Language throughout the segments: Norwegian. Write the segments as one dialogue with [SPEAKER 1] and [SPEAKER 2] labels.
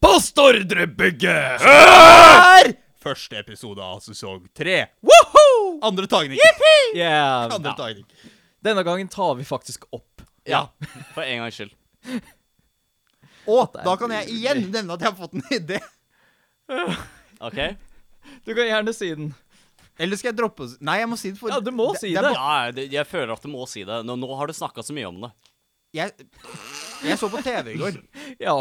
[SPEAKER 1] på Stordrebygget!
[SPEAKER 2] Her! Første episode av sesong tre.
[SPEAKER 3] Woho!
[SPEAKER 2] Andre tagning.
[SPEAKER 3] Yeah.
[SPEAKER 2] Andre
[SPEAKER 3] Ja.
[SPEAKER 2] tagning.
[SPEAKER 3] Denne gangen tar vi faktisk opp.
[SPEAKER 2] Ja.
[SPEAKER 4] For en gangs skyld.
[SPEAKER 2] Og da kan jeg igjen nevne at jeg har fått en idé.
[SPEAKER 4] OK?
[SPEAKER 3] Du kan gjerne si den.
[SPEAKER 2] Eller skal jeg droppe å si- Nei, jeg må si det. For
[SPEAKER 3] Ja, du må si det.
[SPEAKER 2] er ba-
[SPEAKER 4] Ja, det- jeg føler at du må si det. Nå, nå har du snakka så mye om det.
[SPEAKER 2] Jeg, jeg så på TV i går,
[SPEAKER 3] Ja.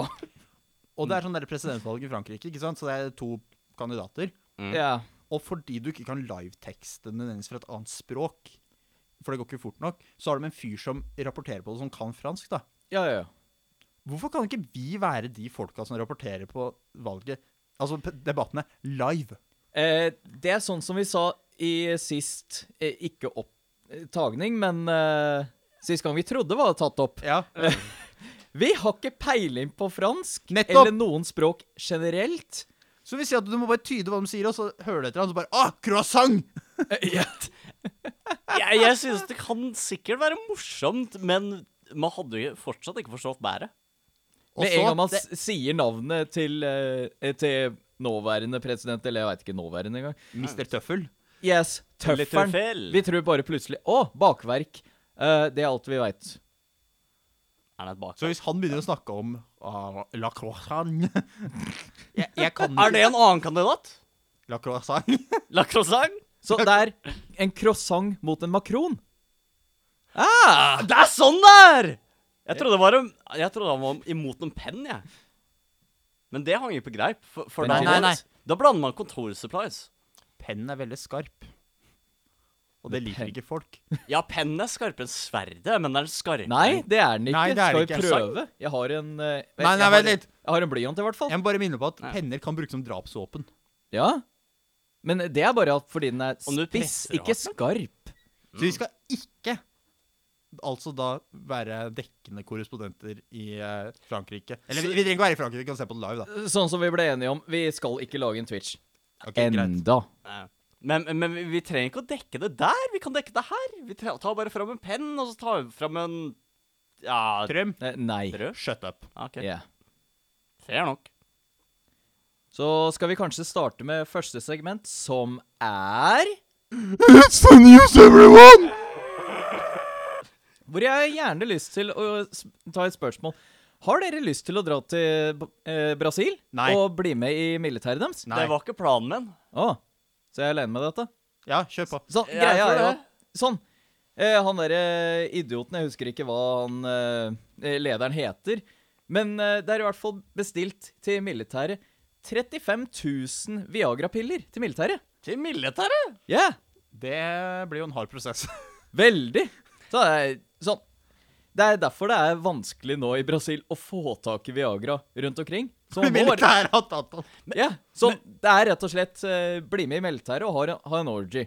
[SPEAKER 2] og det er sånn der presidentvalg i Frankrike, ikke sant? så det er to kandidater.
[SPEAKER 4] Mm.
[SPEAKER 3] ja.
[SPEAKER 2] Og fordi du ikke kan livetekste nødvendigvis fra et annet språk, for det går ikke fort nok, så har de en fyr som rapporterer på det, som kan fransk, da.
[SPEAKER 3] Ja, ja, ja.
[SPEAKER 2] Hvorfor kan ikke vi være de folka som rapporterer på valget, altså p- debattene, live?
[SPEAKER 3] Eh, det er sånn som vi sa i sist eh, Ikke opptagning, men eh, sist gang vi trodde var det tatt opp.
[SPEAKER 2] Ja.
[SPEAKER 3] Vi har ikke peiling på fransk
[SPEAKER 2] Nettopp.
[SPEAKER 3] eller noen språk generelt.
[SPEAKER 2] Så vi sier at du må bare tyde hva de sier, og så hører du etter han, så bare Ah, croissant!
[SPEAKER 3] Eh,
[SPEAKER 4] Jeg, jeg synes det kan sikkert være morsomt, men man hadde jo fortsatt ikke forstått bæret.
[SPEAKER 2] Og
[SPEAKER 3] Med en gang man
[SPEAKER 2] det-
[SPEAKER 3] s- sier navnet til, eh, til nåværende president, eller jeg veit ikke nåværende engang
[SPEAKER 2] Mr. Tøffel.
[SPEAKER 3] Yes,
[SPEAKER 4] Eller
[SPEAKER 3] tøfferen.
[SPEAKER 4] tøffel.
[SPEAKER 3] Vi tror bare plutselig Å, bakverk. Eh, det er alt vi veit.
[SPEAKER 4] Er det et bak?
[SPEAKER 2] Så hvis han begynner å snakke om ah, la croissant jeg, jeg kan
[SPEAKER 4] Er det en annen kandidat?
[SPEAKER 2] La croissant.
[SPEAKER 4] La croissant?
[SPEAKER 3] Så det er en croissant mot en makron.
[SPEAKER 4] Det er sånn det er! Jeg trodde, det var en, jeg trodde han var imot en penn, jeg. Men det hang ikke på greip. For, for
[SPEAKER 3] Nei, nei,
[SPEAKER 4] da-
[SPEAKER 3] nei.
[SPEAKER 4] Da blander man kontorsupplies.
[SPEAKER 2] Pennen er veldig skarp. Og det liker ikke folk.
[SPEAKER 4] Ja, pennen er skarpere enn sverdet, men den er skarpere.
[SPEAKER 3] Nei, det er den ikke.
[SPEAKER 2] Nei, det er
[SPEAKER 3] Skal
[SPEAKER 2] det
[SPEAKER 3] vi
[SPEAKER 2] ikke.
[SPEAKER 3] prøve? Jeg har en eh, vet-
[SPEAKER 2] Nei, nei,
[SPEAKER 3] jeg har-
[SPEAKER 2] vent litt.
[SPEAKER 3] Jeg har en blyant, i hvert fall.
[SPEAKER 2] Jeg må bare minne på at
[SPEAKER 4] Nei.
[SPEAKER 2] penner kan brukes som drapsvåpen.
[SPEAKER 3] Ja. Men det er bare at fordi den er
[SPEAKER 4] Om du
[SPEAKER 3] spiss,
[SPEAKER 4] presser
[SPEAKER 3] ikke skarp.
[SPEAKER 2] Så vi skal ikke altså da være dekkende korrespondenter i eh, Frankrike. Eller vi, vi trenger ikke være i Frankrike, vi kan se på det live, da.
[SPEAKER 3] Sånn som vi ble enige om. Vi skal ikke lage en Twitch.
[SPEAKER 2] Ok, greit.
[SPEAKER 3] Enda.
[SPEAKER 4] Nei. Men, men vi, vi trenger ikke å dekke det der. Vi kan dekke det her. Vi tre- tar bare fram en penn, og så tar vi fram en Ja,
[SPEAKER 2] Trym,
[SPEAKER 3] Eh, Nei.
[SPEAKER 4] brød.
[SPEAKER 2] shut up.
[SPEAKER 4] OK.
[SPEAKER 3] Ja.
[SPEAKER 4] Fair nok.
[SPEAKER 3] Så skal vi kanskje starte med første segment, som er
[SPEAKER 2] It's the news, everyone!
[SPEAKER 3] Hvor jeg har gjerne lyst til å s- ta et spørsmål. Har dere lyst til å dra til B- eh, Brasil
[SPEAKER 2] Nei.
[SPEAKER 3] og bli med i militæret deres?
[SPEAKER 2] Nei.
[SPEAKER 4] Det var ikke planen min.
[SPEAKER 3] Å, så jeg er alene med dette?
[SPEAKER 2] Ja, kjør på.
[SPEAKER 3] Sånn,
[SPEAKER 4] Jeg
[SPEAKER 3] greia
[SPEAKER 4] tror
[SPEAKER 3] er jo
[SPEAKER 4] det.
[SPEAKER 3] at- Sånn. Eh, han derre idioten, jeg husker ikke hva han eh, lederen heter. Men eh, det er i hvert fall bestilt til militæret 35 000 Viagra-piller til militæret.
[SPEAKER 4] Til militæret?
[SPEAKER 3] Ja!
[SPEAKER 2] Det blir jo en hard prosess.
[SPEAKER 3] Veldig. Så det er, sånn. det er derfor det er vanskelig nå i Brasil å få tak i Viagra rundt omkring. Så man må bare,
[SPEAKER 2] Militæret har tatt han.
[SPEAKER 3] ja, så det er rett og slett eh, bli med i militæret og ha en, ha en orgy.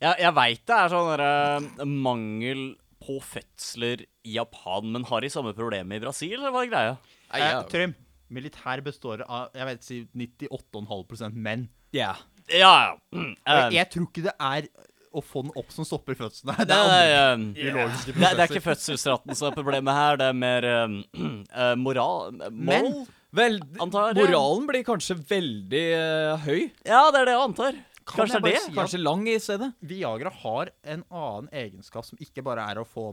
[SPEAKER 4] Jeg, jeg veit det er sånn derre mangel på fødsler i Japan, men har de samme problemet i Brasil, eller hva er greia?
[SPEAKER 3] Nei,
[SPEAKER 2] Eh,
[SPEAKER 3] ja.
[SPEAKER 2] Trym, militær består av jeg vet, si 98,5 menn.
[SPEAKER 3] Ja.
[SPEAKER 4] Ja, ja. Mm, eh,
[SPEAKER 2] Og jeg tror ikke det er å få den opp som stopper fødselen. her.
[SPEAKER 4] det,
[SPEAKER 2] Det er
[SPEAKER 4] er,
[SPEAKER 2] andre
[SPEAKER 4] eh,
[SPEAKER 2] biologiske
[SPEAKER 4] det, er- det er
[SPEAKER 2] prosesser.
[SPEAKER 4] ikke fødselsraten som er problemet her, det er mer eh, eh, moral Men
[SPEAKER 3] Men- Vel, d-
[SPEAKER 4] Antar jeg.
[SPEAKER 3] moralen blir kanskje veldig eh, høy.
[SPEAKER 4] Ja, det er det jeg antar.
[SPEAKER 2] Kan
[SPEAKER 4] Kanskje
[SPEAKER 2] jeg
[SPEAKER 4] det
[SPEAKER 2] bare
[SPEAKER 4] er
[SPEAKER 2] si
[SPEAKER 4] det.
[SPEAKER 2] at
[SPEAKER 3] Kanskje lang i stedet.
[SPEAKER 2] Viagra har en annen egenskap som ikke bare er å få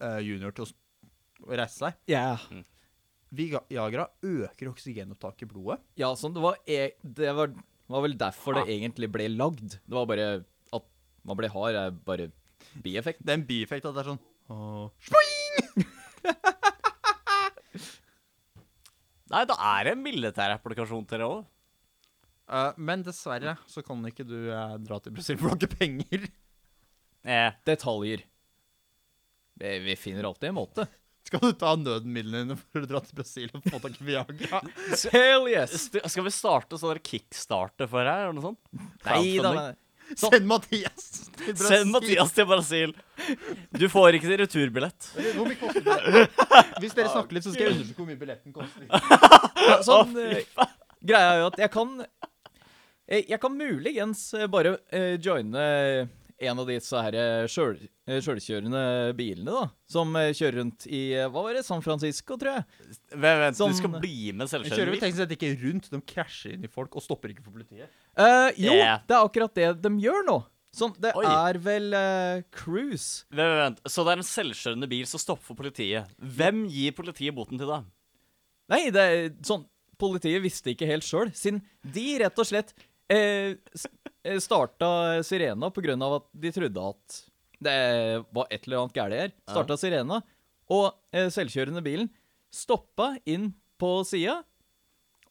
[SPEAKER 2] eh, junior til å s- å reise seg.
[SPEAKER 3] Ja.
[SPEAKER 2] Viga- Viagra øker oksygenopptaket i blodet.
[SPEAKER 3] Ja, sånn, det var, e det var, var vel derfor det egentlig ble lagd. Det var bare at man ble hard, er bare bieffekt.
[SPEAKER 2] Det er en bieffekt at det er sånn åh.
[SPEAKER 4] Nei, da er det en militærapplikasjon til det òg.
[SPEAKER 2] Eh, Men dessverre så kan ikke du eh, dra til Brasil, for du har ikke penger.
[SPEAKER 4] Eh,
[SPEAKER 3] Detaljer. Vi, vi finner alltid en måte.
[SPEAKER 2] Skal du ta nødmidlene dine for å dra til Brasil og få tak i Viagra?
[SPEAKER 3] Hell yes!
[SPEAKER 4] st- skal vi starte sånn der kickstarter for her, eller noe sånt?
[SPEAKER 3] Nei da.
[SPEAKER 4] Crowdfunding.
[SPEAKER 3] nei.
[SPEAKER 2] Send Mathias til Brasil!
[SPEAKER 4] Send Mathias til Brasil. Du får ikke returbillett.
[SPEAKER 2] Hvor mye koster det? Hvis dere snakker litt, så skal jeg undersøke hvor mye billetten koster.
[SPEAKER 3] Ja, Sånn, eh, greia er jo at jeg kan eh, Jeg kan muligens eh, bare eh, joine en av disse her eh, sjøl, eh, sjølkjørende bilene, da. Som eh, kjører rundt i eh, Hva var det? San Francisco, tror jeg.
[SPEAKER 4] Vent, vent,
[SPEAKER 3] Sånn-
[SPEAKER 4] du skal bli
[SPEAKER 2] De kjører vel
[SPEAKER 4] med selvkjørende bil?
[SPEAKER 2] teknisk sett ikke rundt, de krasjer inn i folk og stopper ikke for politiet.
[SPEAKER 3] Eh, jo,
[SPEAKER 4] Yeah.
[SPEAKER 3] det er akkurat det de gjør nå. Sånn, det
[SPEAKER 4] Oi.
[SPEAKER 3] er vel eh, cruise.
[SPEAKER 4] Vent, vent, vent. Så det er en selvkjørende bil som stopper for politiet. Hvem gir politiet boten til, da?
[SPEAKER 3] Nei, det er sånn Politiet visste ikke helt sjøl, siden de rett og slett eh, s- eh, starta sirena på grunn av at de trodde at det var et eller annet galt her. Starta sirena, og eh, selvkjørende bilen stoppa inn på sida.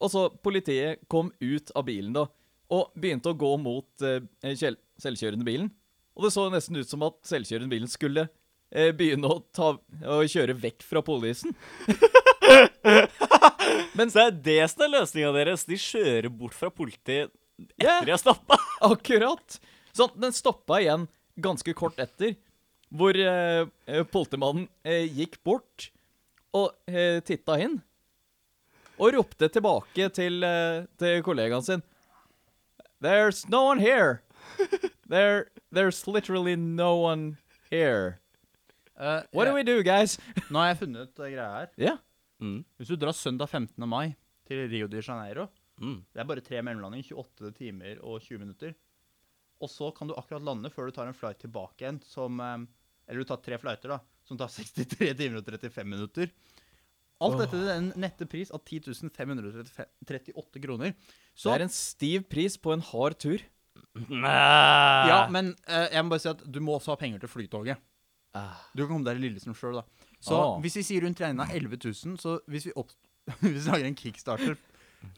[SPEAKER 3] Og så politiet kom ut av bilen da, og begynte å gå mot eh, kjel- selvkjørende bilen. Og det så nesten ut som at selvkjørende bilen skulle eh, begynne å, ta, å kjøre vekk fra politien. Men
[SPEAKER 4] Så det er det som er løsninga deres. De kjører bort fra politiet
[SPEAKER 3] Ja.
[SPEAKER 4] etter de har stoppa.
[SPEAKER 3] Akkurat. Sånn, den stoppa igjen ganske kort etter, hvor eh, eh, politimannen eh, gikk bort og eh, titta inn. Og ropte tilbake til, eh, til kollegaen sin. There's no one here. There, there's literally no one here. What do we do, guys?
[SPEAKER 2] Nå har jeg funnet eh, greia her.
[SPEAKER 3] Ja.
[SPEAKER 4] Mm.
[SPEAKER 2] Hvis du drar søndag 15. mai til Rio de Janeiro
[SPEAKER 4] Mm.
[SPEAKER 2] Det er bare tre mellomlandinger, 28 timer og 20 minutter. Og så kan du akkurat lande før du tar en flight tilbake igjen som eh, Eller du tar tre flighter, da, som tar 63 timer og 35 minutter. Alt dette til en nette pris av 10 538 kroner. Så
[SPEAKER 3] Det er en stiv pris på en hard tur.
[SPEAKER 2] Ja, men eh, jeg må bare si at du må også ha penger til flytoget.
[SPEAKER 4] Eh.
[SPEAKER 3] Ah.
[SPEAKER 2] Du kan komme deg til Lillesund sjøl, da. Så
[SPEAKER 3] Ah.
[SPEAKER 2] hvis vi sier rundt regna 11 000, så hvis vi, opp, hvis vi lager en kickstarter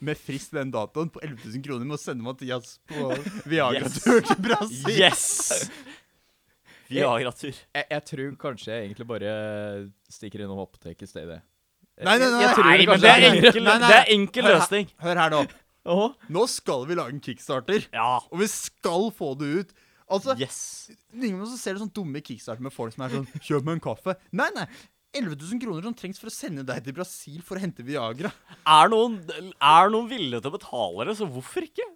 [SPEAKER 2] med frist den datoen på 11 000 kroner, må sende Mathias på Viagra-tur til Brasil.
[SPEAKER 4] Yes! Viagra-tur.
[SPEAKER 3] Jeg, jeg tror kanskje jeg egentlig bare stikker innom apoteket i stedet.
[SPEAKER 2] Nei, nei, nei,
[SPEAKER 3] Jeg tror
[SPEAKER 4] Nei,
[SPEAKER 3] det
[SPEAKER 4] men
[SPEAKER 3] kanskje
[SPEAKER 4] det er
[SPEAKER 3] er
[SPEAKER 2] enklere.
[SPEAKER 4] enkel,
[SPEAKER 2] Nei, nei.
[SPEAKER 4] det er enkel
[SPEAKER 2] Hør her-
[SPEAKER 4] løsning.
[SPEAKER 2] Hør her nå.
[SPEAKER 3] Åh.
[SPEAKER 2] Nå skal vi lage en kickstarter,
[SPEAKER 4] Ja.
[SPEAKER 2] og vi skal få det ut. Altså,
[SPEAKER 4] Yes.
[SPEAKER 2] Ingen av oss ser det sånn dumme kickstarter med folk som er sånn Kjøp meg en kaffe. Nei, nei. 11 000 kroner som trengs for å sende deg til Brasil for å hente Viagra.
[SPEAKER 4] Er noen, er noen villige til å betale det, så hvorfor ikke?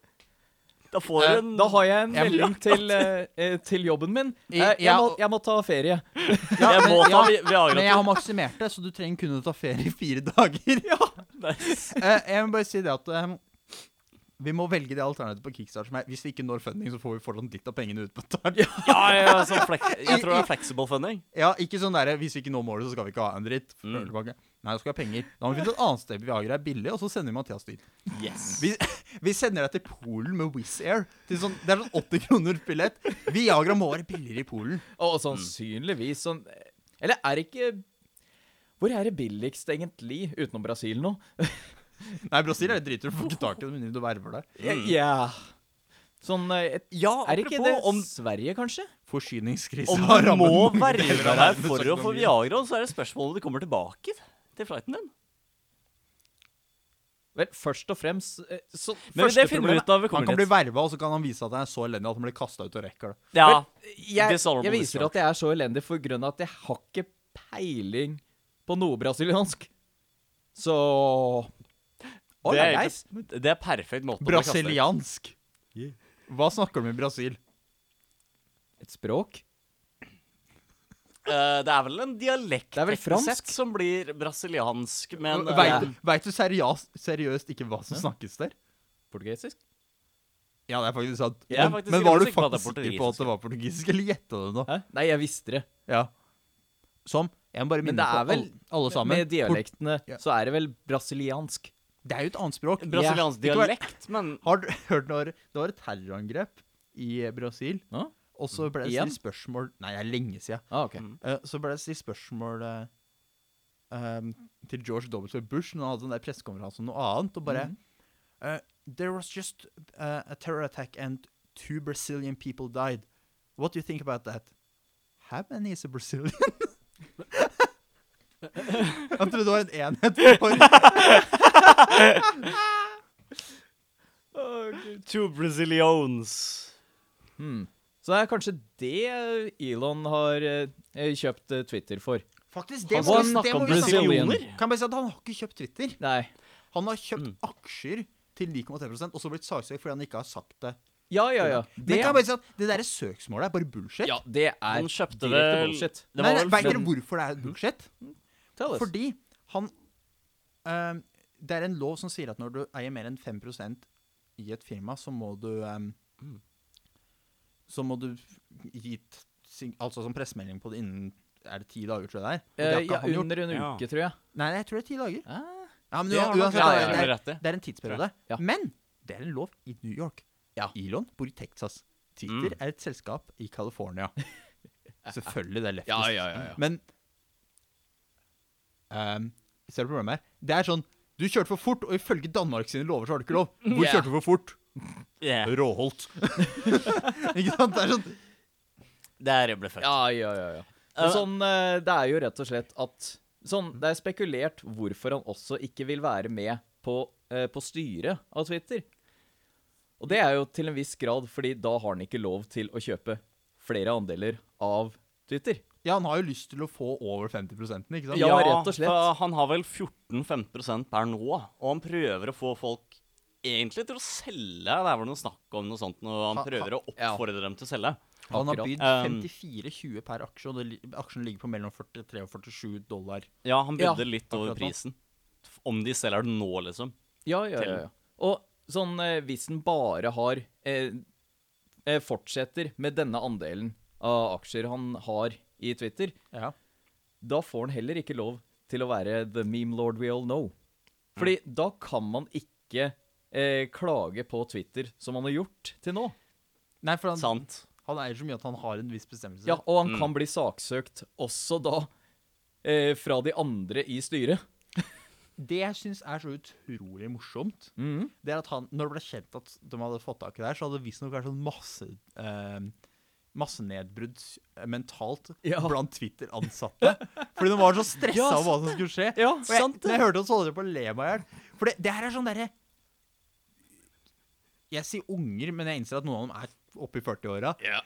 [SPEAKER 4] Da får
[SPEAKER 2] Eh,
[SPEAKER 4] dere en
[SPEAKER 3] Da har jeg en
[SPEAKER 2] Jeg må-
[SPEAKER 3] melding til, eh, eh, til jobben min.
[SPEAKER 2] I-
[SPEAKER 3] Eh, jeg,
[SPEAKER 2] ja,
[SPEAKER 3] må,
[SPEAKER 2] og-
[SPEAKER 3] jeg må ta ferie.
[SPEAKER 4] Jeg
[SPEAKER 2] men-
[SPEAKER 4] må ta Vi-
[SPEAKER 2] Men jeg
[SPEAKER 4] Viagra-tur.
[SPEAKER 2] har maksimert det, så du trenger kun å ta ferie i fire dager.
[SPEAKER 4] Nice.
[SPEAKER 2] Eh, jeg må bare si det at eh, vi må velge det alternativet på Kickstart som er Hvis vi ikke når funding, så får vi fortsatt litt av pengene utbetalt. Ja.
[SPEAKER 4] Ja, ja, sånn flek jeg tror det er flexible funding.
[SPEAKER 2] ikke sånn derre Hvis vi ikke når målet, så skal vi ikke ha en dritt. Føler
[SPEAKER 4] Mm.
[SPEAKER 2] tilbake. Nei, da skal vi ha penger. Da må vi finne et annet sted Viagra er billig, og så sender vi Mathias dit.
[SPEAKER 4] Yes.
[SPEAKER 2] Vi, vi sender deg til Polen med Wizz Air. Til sånn, det er sånn 80 kroner billett. Viagra må være billigere i Polen.
[SPEAKER 3] Og sannsynligvis sånn eh, Eller er det ikke Hvor er det billigst egentlig, utenom Brasil nå?
[SPEAKER 2] Nei, Brasil er det dritdyrt. Du får ikke tak i det med mindre du verver deg.
[SPEAKER 3] Eh, Ja. Sånn eh, et-
[SPEAKER 4] Ja,
[SPEAKER 3] Er det ikke det
[SPEAKER 4] apropos, om,
[SPEAKER 3] Sverige, kanskje?
[SPEAKER 2] Forsyningskrise
[SPEAKER 4] om
[SPEAKER 2] har
[SPEAKER 4] du
[SPEAKER 2] rammet
[SPEAKER 4] må
[SPEAKER 2] mange
[SPEAKER 4] verve
[SPEAKER 2] deler av
[SPEAKER 4] deg
[SPEAKER 2] verdens
[SPEAKER 4] for å få
[SPEAKER 2] økonomi.
[SPEAKER 4] Viagra, så er det spørsmålet om du kommer tilbake til flighten din.
[SPEAKER 3] Vel, først og fremst eh, så,
[SPEAKER 4] Men
[SPEAKER 3] første
[SPEAKER 4] det finner vi
[SPEAKER 3] problemet-
[SPEAKER 4] ut av vi
[SPEAKER 2] Han
[SPEAKER 4] kommer
[SPEAKER 2] kan bli
[SPEAKER 4] dit.
[SPEAKER 2] verva, og så kan han vise at han er så elendig at han blir kasta ut og rekker det.
[SPEAKER 4] Ja,
[SPEAKER 3] eh, jeg,
[SPEAKER 4] Dishonorable
[SPEAKER 3] jeg viser
[SPEAKER 4] discharge.
[SPEAKER 3] at jeg er så elendig for grunn av at jeg har ikke peiling på noe brasiliansk. Så All
[SPEAKER 4] det,
[SPEAKER 3] right,
[SPEAKER 4] er,
[SPEAKER 3] guys.
[SPEAKER 4] det er perfekt måte å bli kastet ut.
[SPEAKER 2] Brasiliansk. Hva snakker de om i Brasil?
[SPEAKER 3] Et språk.
[SPEAKER 4] Eh, det er vel en dialekt
[SPEAKER 3] Det er vel
[SPEAKER 4] teknisk sett
[SPEAKER 3] fransk?
[SPEAKER 4] som blir brasiliansk, men eh,
[SPEAKER 2] Veit veit du seriøst, seriøst ikke hva som snakkes der?
[SPEAKER 3] Portugisisk.
[SPEAKER 2] Ja, det er faktisk sant.
[SPEAKER 4] Jeg er
[SPEAKER 2] Men,
[SPEAKER 4] faktisk
[SPEAKER 2] men var du
[SPEAKER 4] ganske sikker på at det er
[SPEAKER 2] faktisk sikker på at det var portugisisk, eller gjetta du nå?
[SPEAKER 3] Hæ? Nei, jeg visste det.
[SPEAKER 2] Ja. Som Jeg må bare
[SPEAKER 3] Men
[SPEAKER 2] minne
[SPEAKER 3] det er
[SPEAKER 2] på
[SPEAKER 3] vel
[SPEAKER 2] alle, alle sammen.
[SPEAKER 3] Med dialektene
[SPEAKER 2] Ja.
[SPEAKER 3] så er det vel brasiliansk.
[SPEAKER 2] Port- Det er jo et annet språk.
[SPEAKER 4] brasiliansk
[SPEAKER 2] Ikke vær-
[SPEAKER 4] dialekt, men
[SPEAKER 2] Har du hørt når det var et terrorangrep i Brasil?
[SPEAKER 3] Ja.
[SPEAKER 2] Og så ble det
[SPEAKER 3] Igjen?
[SPEAKER 2] stilt spørsmål Nei, det er lenge siden.
[SPEAKER 3] Ah, ok.
[SPEAKER 2] Eh, så ble det stilt spørsmål eh, ehm, til George W. Bush når han hadde den der pressekonferansen om noe annet, og
[SPEAKER 3] Mhm.
[SPEAKER 2] bare eh, There was just eh, a terror attack and two Brazilian people died. What do you think about that? How many is a Brazilian? Han trodde det var en enhet for
[SPEAKER 4] Two Brazilians.
[SPEAKER 3] Hmm. Så det er kanskje det Elon har eh, eh, kjøpt eh, Twitter for.
[SPEAKER 2] Faktisk,
[SPEAKER 3] Han
[SPEAKER 2] det
[SPEAKER 3] må
[SPEAKER 2] må vi
[SPEAKER 3] snakke
[SPEAKER 2] det
[SPEAKER 3] om
[SPEAKER 2] må vi snakke om.
[SPEAKER 3] Brazilian.
[SPEAKER 2] Kan jeg bare si at han har ikke kjøpt Twitter.
[SPEAKER 3] Nei. Mm.
[SPEAKER 2] Han har kjøpt aksjer til 9,3 og så blitt saksøkt fordi han ikke har sagt det
[SPEAKER 3] Ja, ja, ja.
[SPEAKER 2] Men
[SPEAKER 3] Det,
[SPEAKER 2] kan jeg bare si at det derre søksmålet er bare bullshit.
[SPEAKER 3] ja, det er
[SPEAKER 4] Han kjøpte
[SPEAKER 3] direkte
[SPEAKER 4] vel-
[SPEAKER 3] bullshit.
[SPEAKER 2] Nei,
[SPEAKER 4] Det var
[SPEAKER 2] nei,
[SPEAKER 4] vel
[SPEAKER 2] Vet dere
[SPEAKER 4] Finn-
[SPEAKER 2] hvorfor det er bullshit?
[SPEAKER 3] Tell us.
[SPEAKER 2] Fordi han ehm, Det er en lov som sier at når du eier mer enn 5 i et firma, så må du ehm,
[SPEAKER 3] Mm.
[SPEAKER 2] Så må du gi t- sing- Altså som pressemelding på det innen Er det ti dager, tror jeg det er? Og det
[SPEAKER 3] Eh,
[SPEAKER 2] har ikke
[SPEAKER 3] ja,
[SPEAKER 2] han gjort.
[SPEAKER 3] under en
[SPEAKER 4] Ja.
[SPEAKER 3] uke, tror jeg.
[SPEAKER 2] Nei, nei, jeg tror det er ti dager.
[SPEAKER 3] Ah.
[SPEAKER 2] Ja, men
[SPEAKER 4] Det har
[SPEAKER 2] uansett,
[SPEAKER 4] nok
[SPEAKER 2] uansett,
[SPEAKER 4] jeg
[SPEAKER 2] det, er-
[SPEAKER 4] jævlig
[SPEAKER 2] det,
[SPEAKER 4] rett i.
[SPEAKER 2] er- det er en tidsperiode.
[SPEAKER 3] Ja.
[SPEAKER 2] Men det er en lov i New York.
[SPEAKER 3] Ja.
[SPEAKER 2] Elon bor i Texas. Twitter er et selskap i California. Selvfølgelig, det er leftist.
[SPEAKER 3] Ja, ja, ja, ja.
[SPEAKER 2] Men ehm, Ser du problemet her? Det er sånn Du kjørte for fort, og ifølge Danmark sine lover så har du ikke lov. Hvor
[SPEAKER 3] Ja.
[SPEAKER 2] kjørte du for fort?
[SPEAKER 4] Yeah.
[SPEAKER 2] Råholt. ikke sant? Det er sånn
[SPEAKER 4] Der ble født.
[SPEAKER 3] Ja, ja, ja, ja. Og sånn, eh, det er jo rett og slett at sånn, Det er spekulert hvorfor han også ikke vil være med på, eh, på styret av Twitter. Og det er jo til en viss grad fordi da har han ikke lov til å kjøpe flere andeler av Twitter.
[SPEAKER 2] Ja, han har jo lyst til å få over 50 ikke sant?
[SPEAKER 3] Ja, rett og slett.
[SPEAKER 4] for han har vel 14-15 per nå, og han prøver å få folk egentlig til å selge. Det er vel noe snakk om noe sånt, og han
[SPEAKER 2] Ha- ha-
[SPEAKER 4] prøver å
[SPEAKER 3] ja.
[SPEAKER 4] oppfordre dem til å selge.
[SPEAKER 2] Han har
[SPEAKER 3] Akkurat.
[SPEAKER 2] bydd
[SPEAKER 4] Ehm.
[SPEAKER 2] 54,20 per aksje, og det, li- aksjen ligger på mellom 43 og 47 dollar.
[SPEAKER 4] Ja, han
[SPEAKER 3] Ja,
[SPEAKER 4] bydde litt over
[SPEAKER 2] akkurat nå.
[SPEAKER 4] prisen. Om de selger den nå, liksom.
[SPEAKER 3] Ja, ja, ja.
[SPEAKER 4] Til-
[SPEAKER 3] ja. Og sånn, eh, hvis den bare har eh, eh, Fortsetter med denne andelen av aksjer han har i Twitter,
[SPEAKER 2] Ja.
[SPEAKER 3] da får han heller ikke lov til å være the meme lord we all know. Fordi
[SPEAKER 4] Mm.
[SPEAKER 3] da kan man ikke eh, klage på Twitter, som han har gjort til nå.
[SPEAKER 2] Nei, for han,
[SPEAKER 4] Sant.
[SPEAKER 2] han eier så mye at han har en viss bestemmelse.
[SPEAKER 3] Ja, Og
[SPEAKER 4] Mm.
[SPEAKER 3] han kan bli saksøkt også da eh, fra de andre i styret.
[SPEAKER 2] Det jeg syns er så utrolig morsomt,
[SPEAKER 4] Mm.
[SPEAKER 2] det er at han, når det ble kjent at de hadde fått tak i det her, så hadde det visstnok vært sånn masse eh, massenedbrudd eh, mentalt
[SPEAKER 3] Ja.
[SPEAKER 2] blant Twitter-ansatte. fordi de var så stressa
[SPEAKER 3] Ja,
[SPEAKER 2] om hva som skulle skje.
[SPEAKER 3] Ja,
[SPEAKER 2] Og jeg, når jeg hørte det, så holdt jeg på å le meg i hjel. For det, det her er sånn derre Jeg sier unger, men jeg innser at noen av dem er oppe i 40-åra.
[SPEAKER 1] Ja.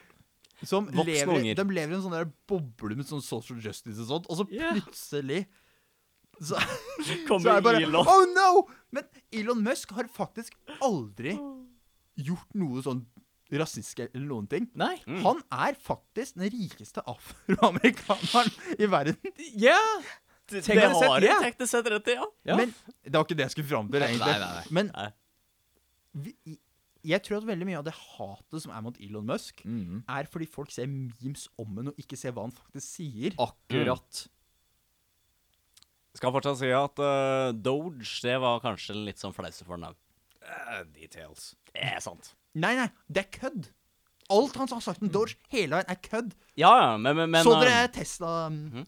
[SPEAKER 2] Som
[SPEAKER 4] Voksne
[SPEAKER 2] lever, i-
[SPEAKER 4] unger.
[SPEAKER 2] De lever i en sånn der boble med sånn social justice og sånt, og så
[SPEAKER 3] Ja.
[SPEAKER 2] plutselig så, så er
[SPEAKER 4] Kommer
[SPEAKER 2] det bare
[SPEAKER 4] Elon
[SPEAKER 2] Oh no! Men Elon Musk har faktisk aldri gjort noe sånn rasistisk eller noen ting.
[SPEAKER 3] Nei.
[SPEAKER 4] Mm.
[SPEAKER 2] Han er faktisk den rikeste afroamerikaneren i verden.
[SPEAKER 3] Ja! Tenk
[SPEAKER 4] Det
[SPEAKER 3] deg
[SPEAKER 4] har
[SPEAKER 3] sett,
[SPEAKER 4] du
[SPEAKER 3] ja.
[SPEAKER 4] tenkt å sette rett i, ja.
[SPEAKER 3] Ja.
[SPEAKER 2] Men det var ikke det jeg skulle fram til, egentlig.
[SPEAKER 3] nei, nei, nei.
[SPEAKER 2] Men
[SPEAKER 4] Nei.
[SPEAKER 2] vi, jeg tror at veldig mye av det hatet som er mot Elon Musk,
[SPEAKER 3] Mhm.
[SPEAKER 2] er fordi folk ser memes om ham og ikke ser hva han faktisk sier.
[SPEAKER 3] Akkurat.
[SPEAKER 4] Skal fortsatt si at eh, Doge, det var kanskje litt sånn fleise for den òg. Eh,
[SPEAKER 1] details.
[SPEAKER 4] Det er sant.
[SPEAKER 2] Nei, nei, det er kødd. Alt han har sagt
[SPEAKER 3] Mm.
[SPEAKER 2] om Doge hele veien, er kødd.
[SPEAKER 4] Ja, ja, men, men, Mhm. men
[SPEAKER 2] Så
[SPEAKER 4] eh,
[SPEAKER 2] dere Tesla um,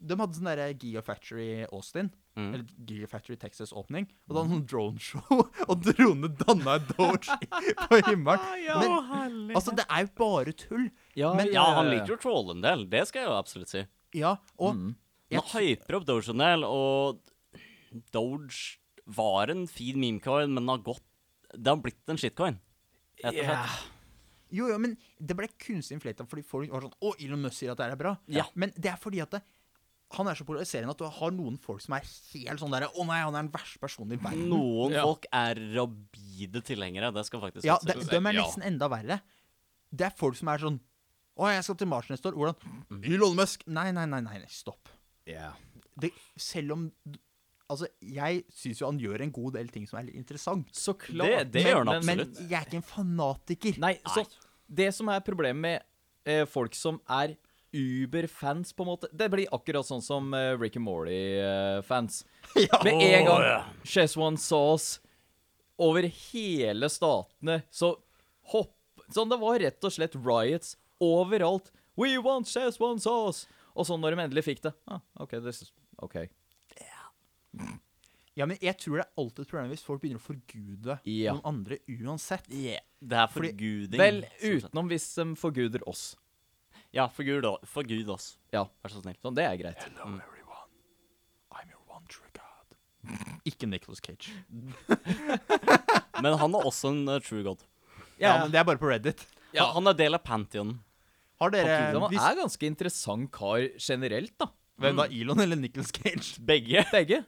[SPEAKER 2] De hadde sånn derre Geofactory Austin.
[SPEAKER 4] Mhm.
[SPEAKER 2] Eller Geofactory Texas-åpning. Og da hadde han sånn droneshow, og dronene danna en Doge i- på himmelen. Men altså, det er jo bare tull.
[SPEAKER 3] Ja,
[SPEAKER 2] Men- eh,
[SPEAKER 4] Ja, han liker jo å tråle en del. Det skal jeg jo absolutt si.
[SPEAKER 2] Ja, og
[SPEAKER 4] Han hyper opp Doge en del, og Doge var en fin memecoin, men den har gått Det har blitt en shitcoin. Rett og slett.
[SPEAKER 2] Jo, jo, men det ble kunstig inflata fordi folk var sånn Å, Elon Musk sier at det her er bra.
[SPEAKER 4] Ja.
[SPEAKER 2] Men det er fordi at det, han er så polariserende at du har noen folk som er helt sånn derre Å nei, han er den verste personen i verden.
[SPEAKER 4] Noen
[SPEAKER 3] Ja.
[SPEAKER 4] folk er rabide tilhengere. Det skal faktisk
[SPEAKER 2] Ja,
[SPEAKER 4] godt
[SPEAKER 2] de,
[SPEAKER 4] sies.
[SPEAKER 2] de er
[SPEAKER 1] Ja.
[SPEAKER 2] nesten enda verre. Det er folk som er sånn Å, jeg skal til Mars neste år. Hvordan? Elon Musk! Nei, nei, nei, nei, nei stopp. Det, selv om Altså, jeg syns jo han gjør en god del ting som er litt interessant.
[SPEAKER 3] Så klart.
[SPEAKER 4] det
[SPEAKER 3] Men-
[SPEAKER 4] gjør han
[SPEAKER 3] men-
[SPEAKER 2] Men
[SPEAKER 4] absolutt.
[SPEAKER 2] jeg er ikke en fanatiker.
[SPEAKER 3] Nei, så det som er problemet med eh, folk som er Uber-fans, på en måte Det blir akkurat sånn som eh, Rick and Morty-fans.
[SPEAKER 2] Ja.
[SPEAKER 3] Med en gang
[SPEAKER 4] Åh, ja.
[SPEAKER 3] Cheswan Sauce over hele statene, så hopp Sånn, det var rett og slett riots overalt. We want Cheswan Sauce! Og så når de endelig fikk det ah, OK, this is OK.
[SPEAKER 2] Ja, men jeg tror det er alltid et problem hvis folk begynner å forgude
[SPEAKER 3] Ja.
[SPEAKER 2] noen andre uansett.
[SPEAKER 4] Yeah. Det er
[SPEAKER 2] Fordi-
[SPEAKER 4] forguding.
[SPEAKER 3] Vel,
[SPEAKER 4] sånn sett.
[SPEAKER 3] utenom hvis de forguder oss.
[SPEAKER 4] Ja, forgud, o- forgud oss.
[SPEAKER 3] Ja.
[SPEAKER 4] Vær så snill.
[SPEAKER 3] Sånn, det er greit.
[SPEAKER 2] Hello everyone, I'm your one true god. Ikke Nicholas Cage.
[SPEAKER 4] Men han er også en eh, true god.
[SPEAKER 2] Ja, men det er bare på Reddit.
[SPEAKER 4] Han, han er del av Pantheon.
[SPEAKER 2] Har dere
[SPEAKER 3] Han
[SPEAKER 2] hvis,
[SPEAKER 3] er ganske interessant kar generelt, da. Mm.
[SPEAKER 2] Hvem da, Elon eller Nicholas Cage?
[SPEAKER 4] Begge.
[SPEAKER 3] Begge.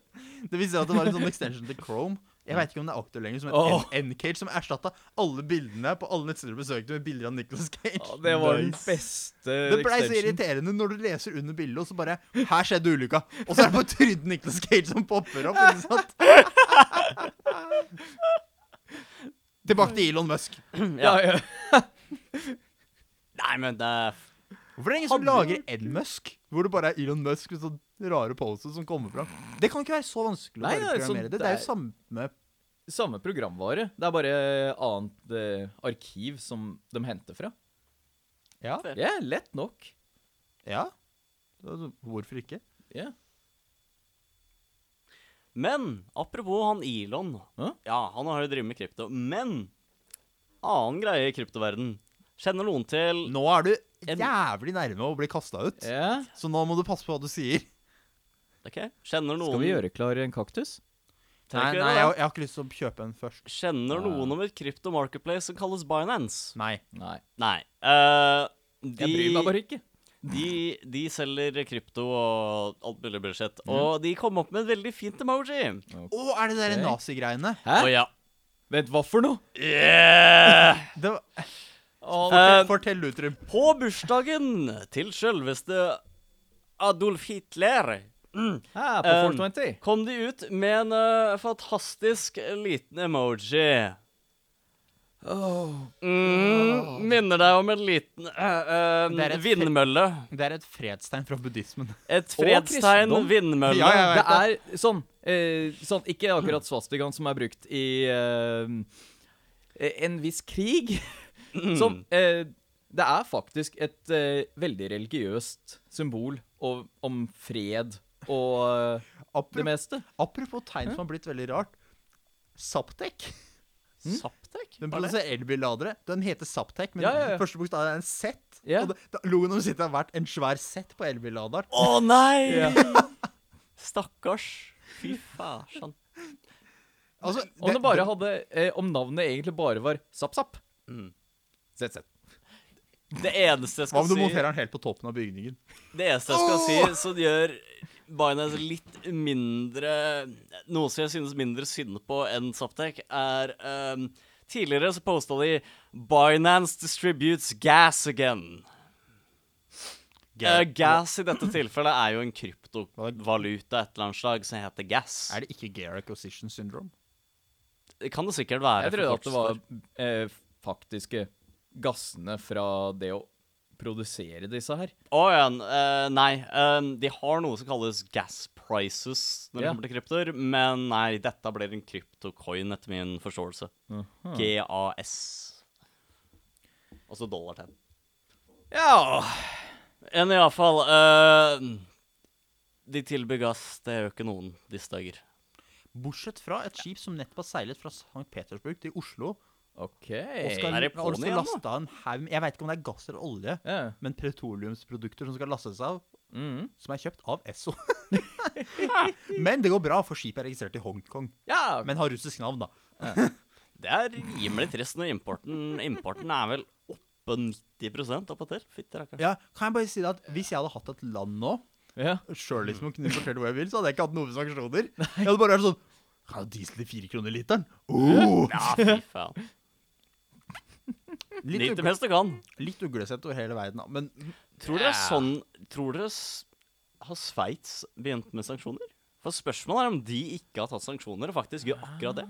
[SPEAKER 2] Det viser seg at det var en sånn extension til Chrome. Jeg veit ikke om det er aktuelt lenger, som
[SPEAKER 3] Åh.
[SPEAKER 2] het N-Cage, som erstatta alle bildene på alle nettsider du besøkte med bilder av Nicholas Cage.
[SPEAKER 3] Ja, det var den
[SPEAKER 2] Nice.
[SPEAKER 3] beste
[SPEAKER 2] Det blei så
[SPEAKER 3] extension.
[SPEAKER 2] irriterende når du leser under bildet, og så bare Her skjedde ulykka. Og så er det bare trynet Nicholas Cage som popper opp. ikke sant? Tilbake til Elon Musk.
[SPEAKER 3] Ja,
[SPEAKER 4] Ja.
[SPEAKER 3] ja.
[SPEAKER 4] Nei, men eh, det er
[SPEAKER 2] Hvorfor er det ingen som lager en Musk? Hvor det bare er Elon Musk med sånne rare poses som kommer fram. Det kan ikke være så vanskelig å
[SPEAKER 3] Nei,
[SPEAKER 2] bare
[SPEAKER 3] det er sånn-
[SPEAKER 2] programmere det. Det er jo samme
[SPEAKER 3] Samme programvare. Det er bare annet eh, arkiv som de henter fra.
[SPEAKER 2] Ja.
[SPEAKER 3] Det er lett nok.
[SPEAKER 2] ja. Altså, Hvorfor ikke?
[SPEAKER 3] Ja.
[SPEAKER 4] Men apropos han Elon.
[SPEAKER 3] Hæ?
[SPEAKER 4] Ja, han har jo drevet med krypto. Men annen greie i kryptoverden. Kjenner noen til
[SPEAKER 2] Nå er du
[SPEAKER 4] En-
[SPEAKER 2] jævlig nærme å bli kasta ut,
[SPEAKER 3] Mm. ja.
[SPEAKER 2] så nå må du passe på hva du sier.
[SPEAKER 4] Ok, Kjenner noen
[SPEAKER 3] Skal vi gjøre klar en kaktus?
[SPEAKER 2] Nei,
[SPEAKER 4] Trenger vi
[SPEAKER 2] nei,
[SPEAKER 4] det?
[SPEAKER 2] jeg, jeg har ikke lyst til å kjøpe en først.
[SPEAKER 4] Kjenner
[SPEAKER 3] Ja.
[SPEAKER 4] noen om et krypto-marketplace som kalles Binance?
[SPEAKER 2] Nei.
[SPEAKER 3] Nei.
[SPEAKER 4] Nei. eh, de,
[SPEAKER 3] Jeg bryr meg bare ikke.
[SPEAKER 4] de, de selger krypto og alt mulig bullshit. Og de kom opp med et veldig fint emoji.
[SPEAKER 2] Å, er det
[SPEAKER 3] Ok.
[SPEAKER 2] de okay. nazigreiene?
[SPEAKER 3] Hæ?
[SPEAKER 4] Å ja.
[SPEAKER 3] Vent, hva for noe?
[SPEAKER 4] Yeah!
[SPEAKER 2] Det var-
[SPEAKER 4] Eh,
[SPEAKER 2] Fortell- Fortell, Utrym.
[SPEAKER 4] På bursdagen til selveste Adolf Hitler
[SPEAKER 3] Hæ, på
[SPEAKER 4] Um,
[SPEAKER 3] 420?
[SPEAKER 4] kom de ut med en eh, fantastisk liten emoji. Mm, minner deg om en liten eh, eh,
[SPEAKER 2] Det er et fe-
[SPEAKER 4] vindmølle.
[SPEAKER 2] Det er et fredstegn fra buddhismen.
[SPEAKER 4] Et fredstegn,
[SPEAKER 3] kristendom.
[SPEAKER 4] vindmølle.
[SPEAKER 2] Ja, ja,
[SPEAKER 3] Det
[SPEAKER 2] jeg vet
[SPEAKER 3] er sånn, eh, sånn Ikke akkurat svastigaen som er brukt i eh, en viss krig. Sånn eh, Det er faktisk et eh, veldig religiøst symbol og, om fred og eh, det
[SPEAKER 2] Apropos,
[SPEAKER 3] meste.
[SPEAKER 2] apropos tegn som har blitt veldig rart. Saptek.
[SPEAKER 3] Mm.
[SPEAKER 4] Saptek?
[SPEAKER 2] Den
[SPEAKER 4] Hva er det?
[SPEAKER 2] produserer elbilladere. Den heter Saptek, men
[SPEAKER 3] Ja, ja, ja.
[SPEAKER 2] første bokstav er en Z.
[SPEAKER 3] Ja.
[SPEAKER 2] Og det, det- logoen om sitt har vært en svær Z på elbilladeren.
[SPEAKER 4] Å nei!
[SPEAKER 3] Ja.
[SPEAKER 4] Stakkars. Fy faen. Sånn.
[SPEAKER 2] Altså,
[SPEAKER 3] Om, det bare hadde, eh, om navnet egentlig bare var SappSapp.
[SPEAKER 4] Mm.
[SPEAKER 3] ZZ.
[SPEAKER 4] Det eneste jeg
[SPEAKER 2] hva om
[SPEAKER 4] skal
[SPEAKER 2] du
[SPEAKER 4] si
[SPEAKER 2] monterer den helt på toppen av bygningen?
[SPEAKER 4] Det eneste jeg skal si, som gjør Binance litt mindre Noe som jeg synes mindre synd på enn Saptek, er ehm, Tidligere så posta de 'Binance distributes gas again'. Eh, gas i dette tilfellet er jo en kryptovaluta et eller annet slag som heter gas.
[SPEAKER 2] Er det ikke Gear Acquisition Syndrome?
[SPEAKER 4] Det kan det sikkert være.
[SPEAKER 3] Jeg trodde at det var
[SPEAKER 4] forkortelser.
[SPEAKER 3] eh, faktiske gassene fra det å produsere disse her.
[SPEAKER 4] Å ja. eh, nei. eh, de har noe som kalles gas prices når det
[SPEAKER 3] Ja.
[SPEAKER 4] kommer til kryptoer, men nei, dette blir en kryptocoin etter min forståelse. GAS. Altså dollartegn.
[SPEAKER 3] Ja
[SPEAKER 4] Enn iallfall uh, De tilbyr gass. Det gjør ikke noen disse dager.
[SPEAKER 2] Bortsett fra et skip som nettopp har seilet fra St. Petersburg til Oslo.
[SPEAKER 3] OK.
[SPEAKER 2] Og skal,
[SPEAKER 4] er det
[SPEAKER 2] og
[SPEAKER 4] pony
[SPEAKER 2] skal
[SPEAKER 4] igjen,
[SPEAKER 2] laste av en haug Jeg veit ikke om det er gass eller olje,
[SPEAKER 3] Ja.
[SPEAKER 2] men petroleumsprodukter som skal lastes av,
[SPEAKER 3] Mhm.
[SPEAKER 2] som er kjøpt av Esso. men det går bra, for skipet er registrert i Hongkong.
[SPEAKER 3] Ja,
[SPEAKER 2] Men har russisk navn, da.
[SPEAKER 4] Det er rimelig trist når importen, importen er vel oppe 90 oppatil. Fytti rakkeren.
[SPEAKER 2] Ja, kan jeg bare si det at Hvis jeg hadde hatt et land nå,
[SPEAKER 3] ja.
[SPEAKER 2] sjøl liksom og kunne importert hvor jeg vil, så hadde jeg ikke hatt noen sanksjoner. Jeg hadde bare vært sånn Kan jeg ha diesel til fire kroner literen? Oh!
[SPEAKER 4] Ja, fy faen.
[SPEAKER 2] Litt,
[SPEAKER 4] Nyt det
[SPEAKER 2] ugle,
[SPEAKER 4] meste du kan.
[SPEAKER 2] litt uglesett over hele verden, da. Men
[SPEAKER 4] Tror dere sånn Tror dere s- Har Sveits begynt med sanksjoner? For spørsmålet er om de ikke har tatt sanksjoner og faktisk gjør akkurat det.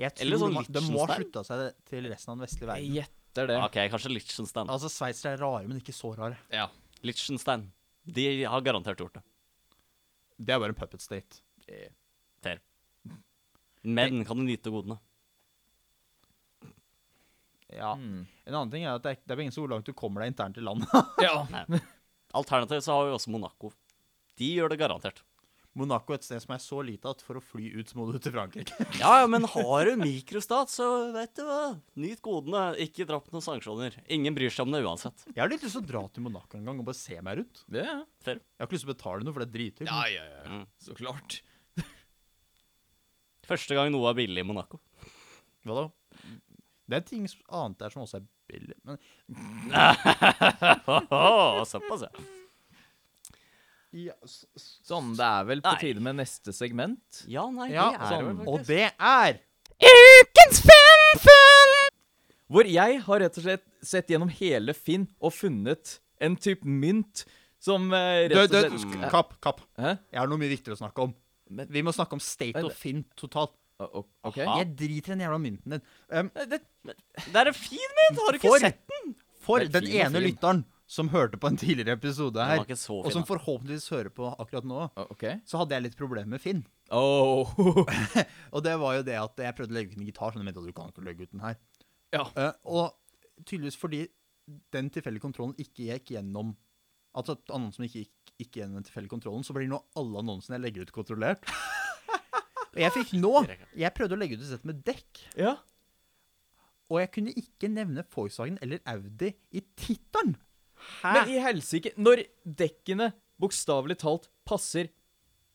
[SPEAKER 2] jeg
[SPEAKER 4] Eller
[SPEAKER 2] tror
[SPEAKER 4] sånn
[SPEAKER 2] de, de må ha
[SPEAKER 4] Liechtenstein.
[SPEAKER 2] slutta seg til resten av den vestlige
[SPEAKER 3] Jeg
[SPEAKER 2] verden.
[SPEAKER 3] gjetter det.
[SPEAKER 4] OK, kanskje Liechtenstein.
[SPEAKER 2] Altså, Sveitsere er rare, men ikke så rare.
[SPEAKER 3] Ja.
[SPEAKER 4] Liechtenstein. De har garantert gjort det.
[SPEAKER 2] Det er bare en puppet state.
[SPEAKER 4] Fair. Men kan du nyte godene?
[SPEAKER 2] Ja.
[SPEAKER 3] Mm.
[SPEAKER 2] En annen ting er at det er, det er ingen så hvor langt du kommer deg internt i landet.
[SPEAKER 3] ja.
[SPEAKER 4] Alternativt så har vi også Monaco. De gjør det garantert.
[SPEAKER 2] Monaco er et sted som er så lite at for å fly ut, så må du til Frankrike.
[SPEAKER 4] Ja, ja, men har du mikrostat, så vet du hva. Nyt godene. Ikke drapp noen sanksjoner. Ingen bryr seg om det uansett.
[SPEAKER 2] Jeg har litt lyst til å dra til Monaco en gang og bare se meg rundt.
[SPEAKER 3] Det er
[SPEAKER 4] Fair.
[SPEAKER 2] Jeg har ikke lyst til å betale noe, for det er dritdyrt. men-
[SPEAKER 3] ja, ja. Så klart.
[SPEAKER 4] Første gang noe er billig i Monaco.
[SPEAKER 2] Hva da? Det er ting som- annet der som også er billig. Men
[SPEAKER 4] Åh, Såpass, ja.
[SPEAKER 2] ja, s- s-
[SPEAKER 3] Sånn, det er vel på
[SPEAKER 4] Nei.
[SPEAKER 3] tide med neste segment.
[SPEAKER 4] Ja, sånn. nei,
[SPEAKER 2] Ja, sånn.
[SPEAKER 4] det er det vel
[SPEAKER 2] og
[SPEAKER 4] faktisk.
[SPEAKER 2] det er
[SPEAKER 3] Ukens Finn-funn! Hvor jeg har rett og slett sett gjennom hele Finn og funnet en type mynt som eh,
[SPEAKER 2] Du,
[SPEAKER 3] rett og
[SPEAKER 2] du,
[SPEAKER 3] slett
[SPEAKER 2] sk- kapp, kapp.
[SPEAKER 3] Hæ?
[SPEAKER 2] Jeg har noe mye viktigere å snakke om.
[SPEAKER 3] Men-
[SPEAKER 2] Vi må snakke om state
[SPEAKER 3] Men-
[SPEAKER 2] og Finn totalt.
[SPEAKER 3] Å, å, OK.
[SPEAKER 2] Jeg driter i den jævla mynten din. Um,
[SPEAKER 4] Det er en fin mynt! Har du ikke
[SPEAKER 2] For-
[SPEAKER 4] sett den?
[SPEAKER 2] for
[SPEAKER 3] Det er
[SPEAKER 2] den
[SPEAKER 3] fin og
[SPEAKER 2] ene
[SPEAKER 3] fin.
[SPEAKER 2] lytteren som hørte på en tidligere episode
[SPEAKER 4] Den
[SPEAKER 2] her,
[SPEAKER 4] var ikke så
[SPEAKER 2] og
[SPEAKER 4] fin,
[SPEAKER 2] som
[SPEAKER 4] da.
[SPEAKER 2] forhåpentligvis hører på akkurat nå,
[SPEAKER 3] Å, OK.
[SPEAKER 2] så hadde jeg litt problemer med Finn.
[SPEAKER 3] Åh.
[SPEAKER 2] Og det var jo det at jeg prøvde å legge ut en gitar, så de mente at du kan ikke legge ut den her.
[SPEAKER 3] Ja.
[SPEAKER 2] Eh, og tydeligvis fordi den tilfeldige kontrollen ikke gikk gjennom Altså at annonsen ikke gikk, gikk gjennom den tilfeldige kontrollen, så blir nå alle annonsene jeg legger ut, kontrollert. Og jeg fikk nå Jeg prøvde å legge ut et sett med dekk,
[SPEAKER 3] Ja.
[SPEAKER 2] og jeg kunne ikke nevne Volkswagen eller Audi i tittelen.
[SPEAKER 3] Men i helsike Når dekkene bokstavelig talt passer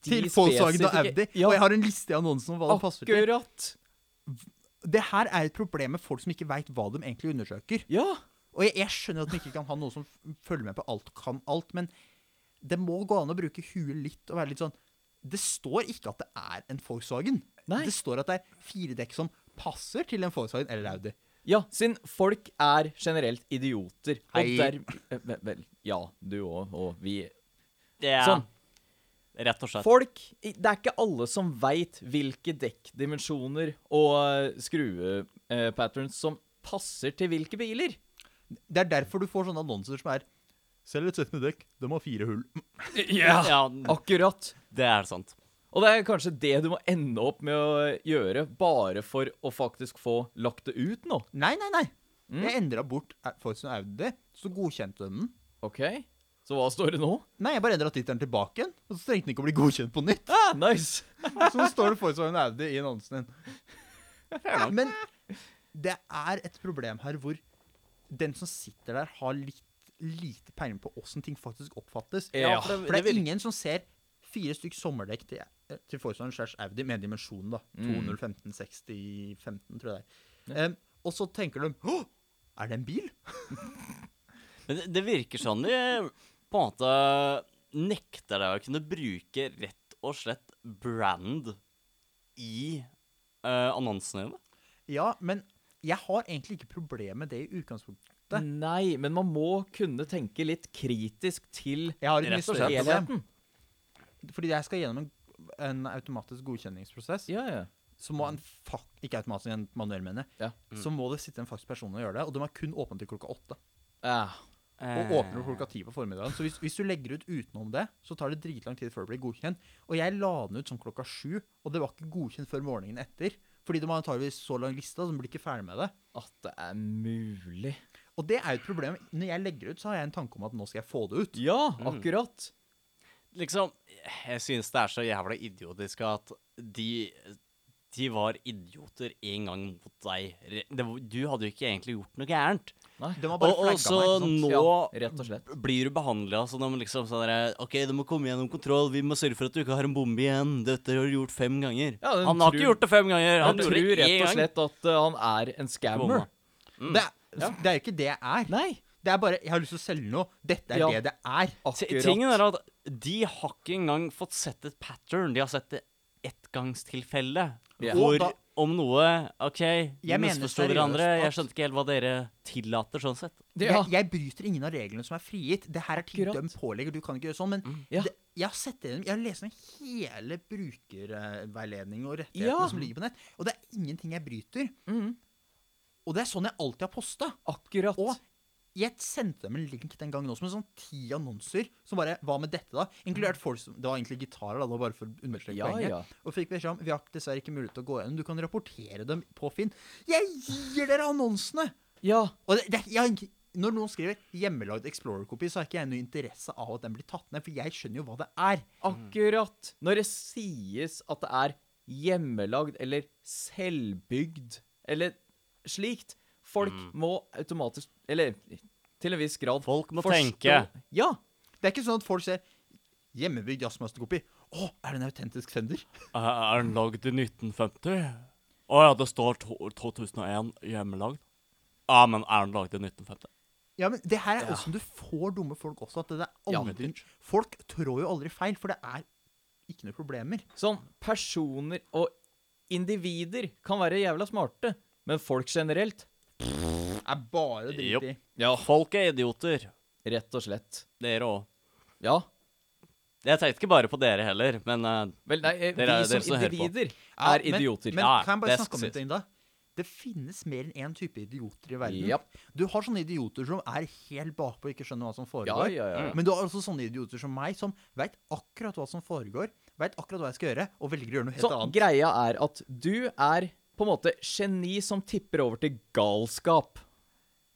[SPEAKER 3] de
[SPEAKER 2] Til Volkswagen og
[SPEAKER 3] spesifikke-
[SPEAKER 2] Audi.
[SPEAKER 3] Ja,
[SPEAKER 2] Og jeg har en liste i annonsen om hva det passer til.
[SPEAKER 3] akkurat.
[SPEAKER 2] Det her er et problem med folk som ikke veit hva de egentlig undersøker.
[SPEAKER 3] Ja.
[SPEAKER 2] Og jeg, jeg skjønner at man ikke kan ha noe som f- følger med på alt og kan alt, men det må gå an å bruke huet litt og være litt sånn Det står ikke at det er en Volkswagen.
[SPEAKER 3] Nei.
[SPEAKER 2] Det står at det er fire dekk som passer til en Volkswagen eller Audi.
[SPEAKER 3] Ja, siden folk er generelt idioter. Og
[SPEAKER 2] Hei.
[SPEAKER 3] der, eh, vel- vel, ja, du òg, og vi.
[SPEAKER 4] Ja.
[SPEAKER 3] Sånn.
[SPEAKER 4] Rett og slett.
[SPEAKER 3] Folk i- Det er ikke alle som veit hvilke dekkdimensjoner og eh, skruepatterns som passer til hvilke biler.
[SPEAKER 2] Det er derfor du får sånne annonser som er Selger et sett med dekk. De har fire hull.
[SPEAKER 3] Ja,
[SPEAKER 4] Ja,
[SPEAKER 3] akkurat.
[SPEAKER 4] det er sant.
[SPEAKER 3] Og det er kanskje det du må ende opp med å eh, gjøre, bare for å faktisk få lagt det ut nå.
[SPEAKER 2] Nei, nei, nei. Jeg endra bort Au- Volkswagen og Audi, så godkjente de den.
[SPEAKER 3] OK? Så hva står det nå?
[SPEAKER 2] Nei, jeg bare endra tittelen tilbake igjen, og så trengte den ikke å bli godkjent på nytt.
[SPEAKER 3] Ah, nice!
[SPEAKER 2] Så står det Volkswagen Audi i annonsen din. Men det er et problem her hvor den som sitter der, har litt lite peiling på åssen ting faktisk oppfattes.
[SPEAKER 3] Ja,
[SPEAKER 2] for, det,
[SPEAKER 4] det
[SPEAKER 2] er
[SPEAKER 4] virker-
[SPEAKER 2] ingen som ser fire stykk sommerdekk til, eh, til Volkswagen slash Audi med dimensjonen, da. 215 60 15, tror jeg det er. Em, og så tenker de Å, er det en bil?
[SPEAKER 4] Men det, det virker sånn de på en måte nekter deg å kunne bruke rett og slett brand i eh, annonsene dine.
[SPEAKER 2] Ja, men jeg har egentlig ikke problem med det i utgangspunktet.
[SPEAKER 3] Mm. Nei, men man må kunne tenke litt kritisk til
[SPEAKER 2] Jeg har et
[SPEAKER 4] Rett og slett.
[SPEAKER 2] misforståelsesproblem.
[SPEAKER 3] helheten.
[SPEAKER 2] Fordi jeg skal gjennom en, en automatisk godkjenningsprosess.
[SPEAKER 3] Ja, ja.
[SPEAKER 2] så må en fak... Ikke automatisk, en manuell, mener jeg.
[SPEAKER 3] Ja.
[SPEAKER 2] Så må det sitte en faktisk person og gjøre det. Og de er kun åpne til klokka åtte.
[SPEAKER 3] Ah,
[SPEAKER 4] Eh.
[SPEAKER 2] Og åpner klokka ti på formiddagen. Så hvis, hvis du legger ut utenom det, så tar det dritlang tid før det blir godkjent. Og jeg la den ut sånn klokka sju, og det var ikke godkjent før morgenen etter. Fordi de har antageligvis så lang liste, så de blir ikke ferdig med det.
[SPEAKER 3] at det er mulig.
[SPEAKER 2] Og det er jo et problem. Når jeg legger ut, så har jeg en tanke om at nå skal jeg få det ut.
[SPEAKER 3] Ja, akkurat.
[SPEAKER 4] Liksom, jeg synes det er så jævla idiotisk at de, de var idioter en gang mot deg. Re- Det, var- du hadde jo ikke egentlig gjort noe gærent.
[SPEAKER 3] Nei.
[SPEAKER 2] De har
[SPEAKER 4] Og,
[SPEAKER 2] bare
[SPEAKER 4] og
[SPEAKER 2] flagga
[SPEAKER 4] så
[SPEAKER 2] meg. ikke sant?
[SPEAKER 4] nå
[SPEAKER 3] Ja, rett og slett.
[SPEAKER 4] blir du behandla som om liksom sånn derre OK, du må komme gjennom kontroll, vi må sørge for at du ikke har en bombe igjen. Dette har du gjort fem ganger.
[SPEAKER 3] Ja, den
[SPEAKER 4] han har
[SPEAKER 3] tror-
[SPEAKER 4] ikke gjort det fem ganger. Han,
[SPEAKER 3] Han
[SPEAKER 4] gjorde
[SPEAKER 3] tror
[SPEAKER 4] det
[SPEAKER 3] rett og
[SPEAKER 4] én gang.
[SPEAKER 3] slett at uh, han er en scammer.
[SPEAKER 4] Bomma.
[SPEAKER 2] Det, er- Mm. det er jo ikke det jeg er.
[SPEAKER 3] Nei,
[SPEAKER 2] Det er bare Jeg har lyst til å selge noe. Dette er
[SPEAKER 3] Ja.
[SPEAKER 2] det det er.
[SPEAKER 4] T-
[SPEAKER 3] akkurat.
[SPEAKER 4] Tingen er at de har ikke engang fått sett et pattern. De har sett et ettgangstilfelle.
[SPEAKER 3] Ja.
[SPEAKER 4] Hvor
[SPEAKER 2] Og da-
[SPEAKER 4] om noe OK, vi
[SPEAKER 2] Jeg mener
[SPEAKER 4] misforsto
[SPEAKER 2] seriøst
[SPEAKER 4] hverandre.
[SPEAKER 2] at-
[SPEAKER 4] Jeg skjønte ikke helt hva dere tillater, sånn sett.
[SPEAKER 3] ja.
[SPEAKER 2] Jeg, jeg bryter ingen av reglene som er frigitt. Det her er ting
[SPEAKER 3] Akkurat.
[SPEAKER 2] de pålegger. Du kan ikke gjøre sånn. Men
[SPEAKER 3] Ja.
[SPEAKER 2] det, jeg har sett gjennom Jeg har lest gjennom hele brukerveiledningen og rettighetene
[SPEAKER 3] Ja.
[SPEAKER 2] som ligger på nett, og det er ingenting jeg bryter. Og det er sånn jeg alltid har posta.
[SPEAKER 3] Akkurat.
[SPEAKER 2] Og jeg sendte dem en link den gangen også, med sånn ti annonser som bare Hva med dette, da? Inkludert folk som Det var egentlig gitarer, da. Det var bare for å understreke
[SPEAKER 3] Ja,
[SPEAKER 2] poenget.
[SPEAKER 3] ja.
[SPEAKER 2] Og fikk beskjed om Vi har dessverre ikke mulighet til å gå gjennom. Du kan rapportere dem på Finn. Jeg gir dere annonsene!
[SPEAKER 3] Ja,
[SPEAKER 2] Og det, det, jeg, har ikke- når noen skriver 'hjemmelagd Explorer-kopi', så har ikke jeg noe interesse av at den blir tatt ned, for jeg skjønner jo hva det er.
[SPEAKER 3] Mm. akkurat. Når det sies at det er hjemmelagd eller selvbygd eller slikt, folk må automatisk Eller til en viss grad
[SPEAKER 4] Folk må
[SPEAKER 3] forstå-
[SPEAKER 4] tenke.
[SPEAKER 3] Ja.
[SPEAKER 2] Det er ikke sånn at folk ser 'hjemmebygd jazzmasterkopi'. Å, er det en autentisk sender?
[SPEAKER 4] Er den lagd i 1950? Å ja, det står 2001 hjemmelagd. Ja, men er den lagd i 1950?
[SPEAKER 2] Ja, men det her er åssen du får dumme folk også. At det er
[SPEAKER 3] Ja,
[SPEAKER 2] aldri, folk trår jo aldri feil, for det er ikke noe problemer.
[SPEAKER 3] Sånn personer og individer kan være jævla smarte, men folk generelt
[SPEAKER 2] Er bare drit i.
[SPEAKER 4] Ja, folk er idioter.
[SPEAKER 3] Rett og slett.
[SPEAKER 4] Dere òg.
[SPEAKER 3] Ja.
[SPEAKER 4] Jeg tenkte ikke bare på dere heller, men eh,
[SPEAKER 3] Vel, nei, eh,
[SPEAKER 4] Dere er-
[SPEAKER 3] vi som
[SPEAKER 4] dere som hører på.
[SPEAKER 3] individer
[SPEAKER 2] Ja,
[SPEAKER 3] er idioter.
[SPEAKER 2] Men, men
[SPEAKER 4] Ja,
[SPEAKER 2] kan jeg bare
[SPEAKER 4] det
[SPEAKER 2] snakke om
[SPEAKER 4] synes
[SPEAKER 2] en ting, da? Det finnes mer enn én type idioter i verden.
[SPEAKER 3] Japp.
[SPEAKER 2] Du har sånne idioter som er helt bakpå og ikke skjønner hva som
[SPEAKER 3] ja,
[SPEAKER 2] foregår.
[SPEAKER 3] ja, ja. ja.
[SPEAKER 2] Men du har også sånne idioter som meg, som veit akkurat hva som foregår, veit akkurat hva jeg skal gjøre, og velger å gjøre noe helt
[SPEAKER 3] Så
[SPEAKER 2] annet.
[SPEAKER 3] Sånn, greia er at du er på en måte geni som tipper over til galskap.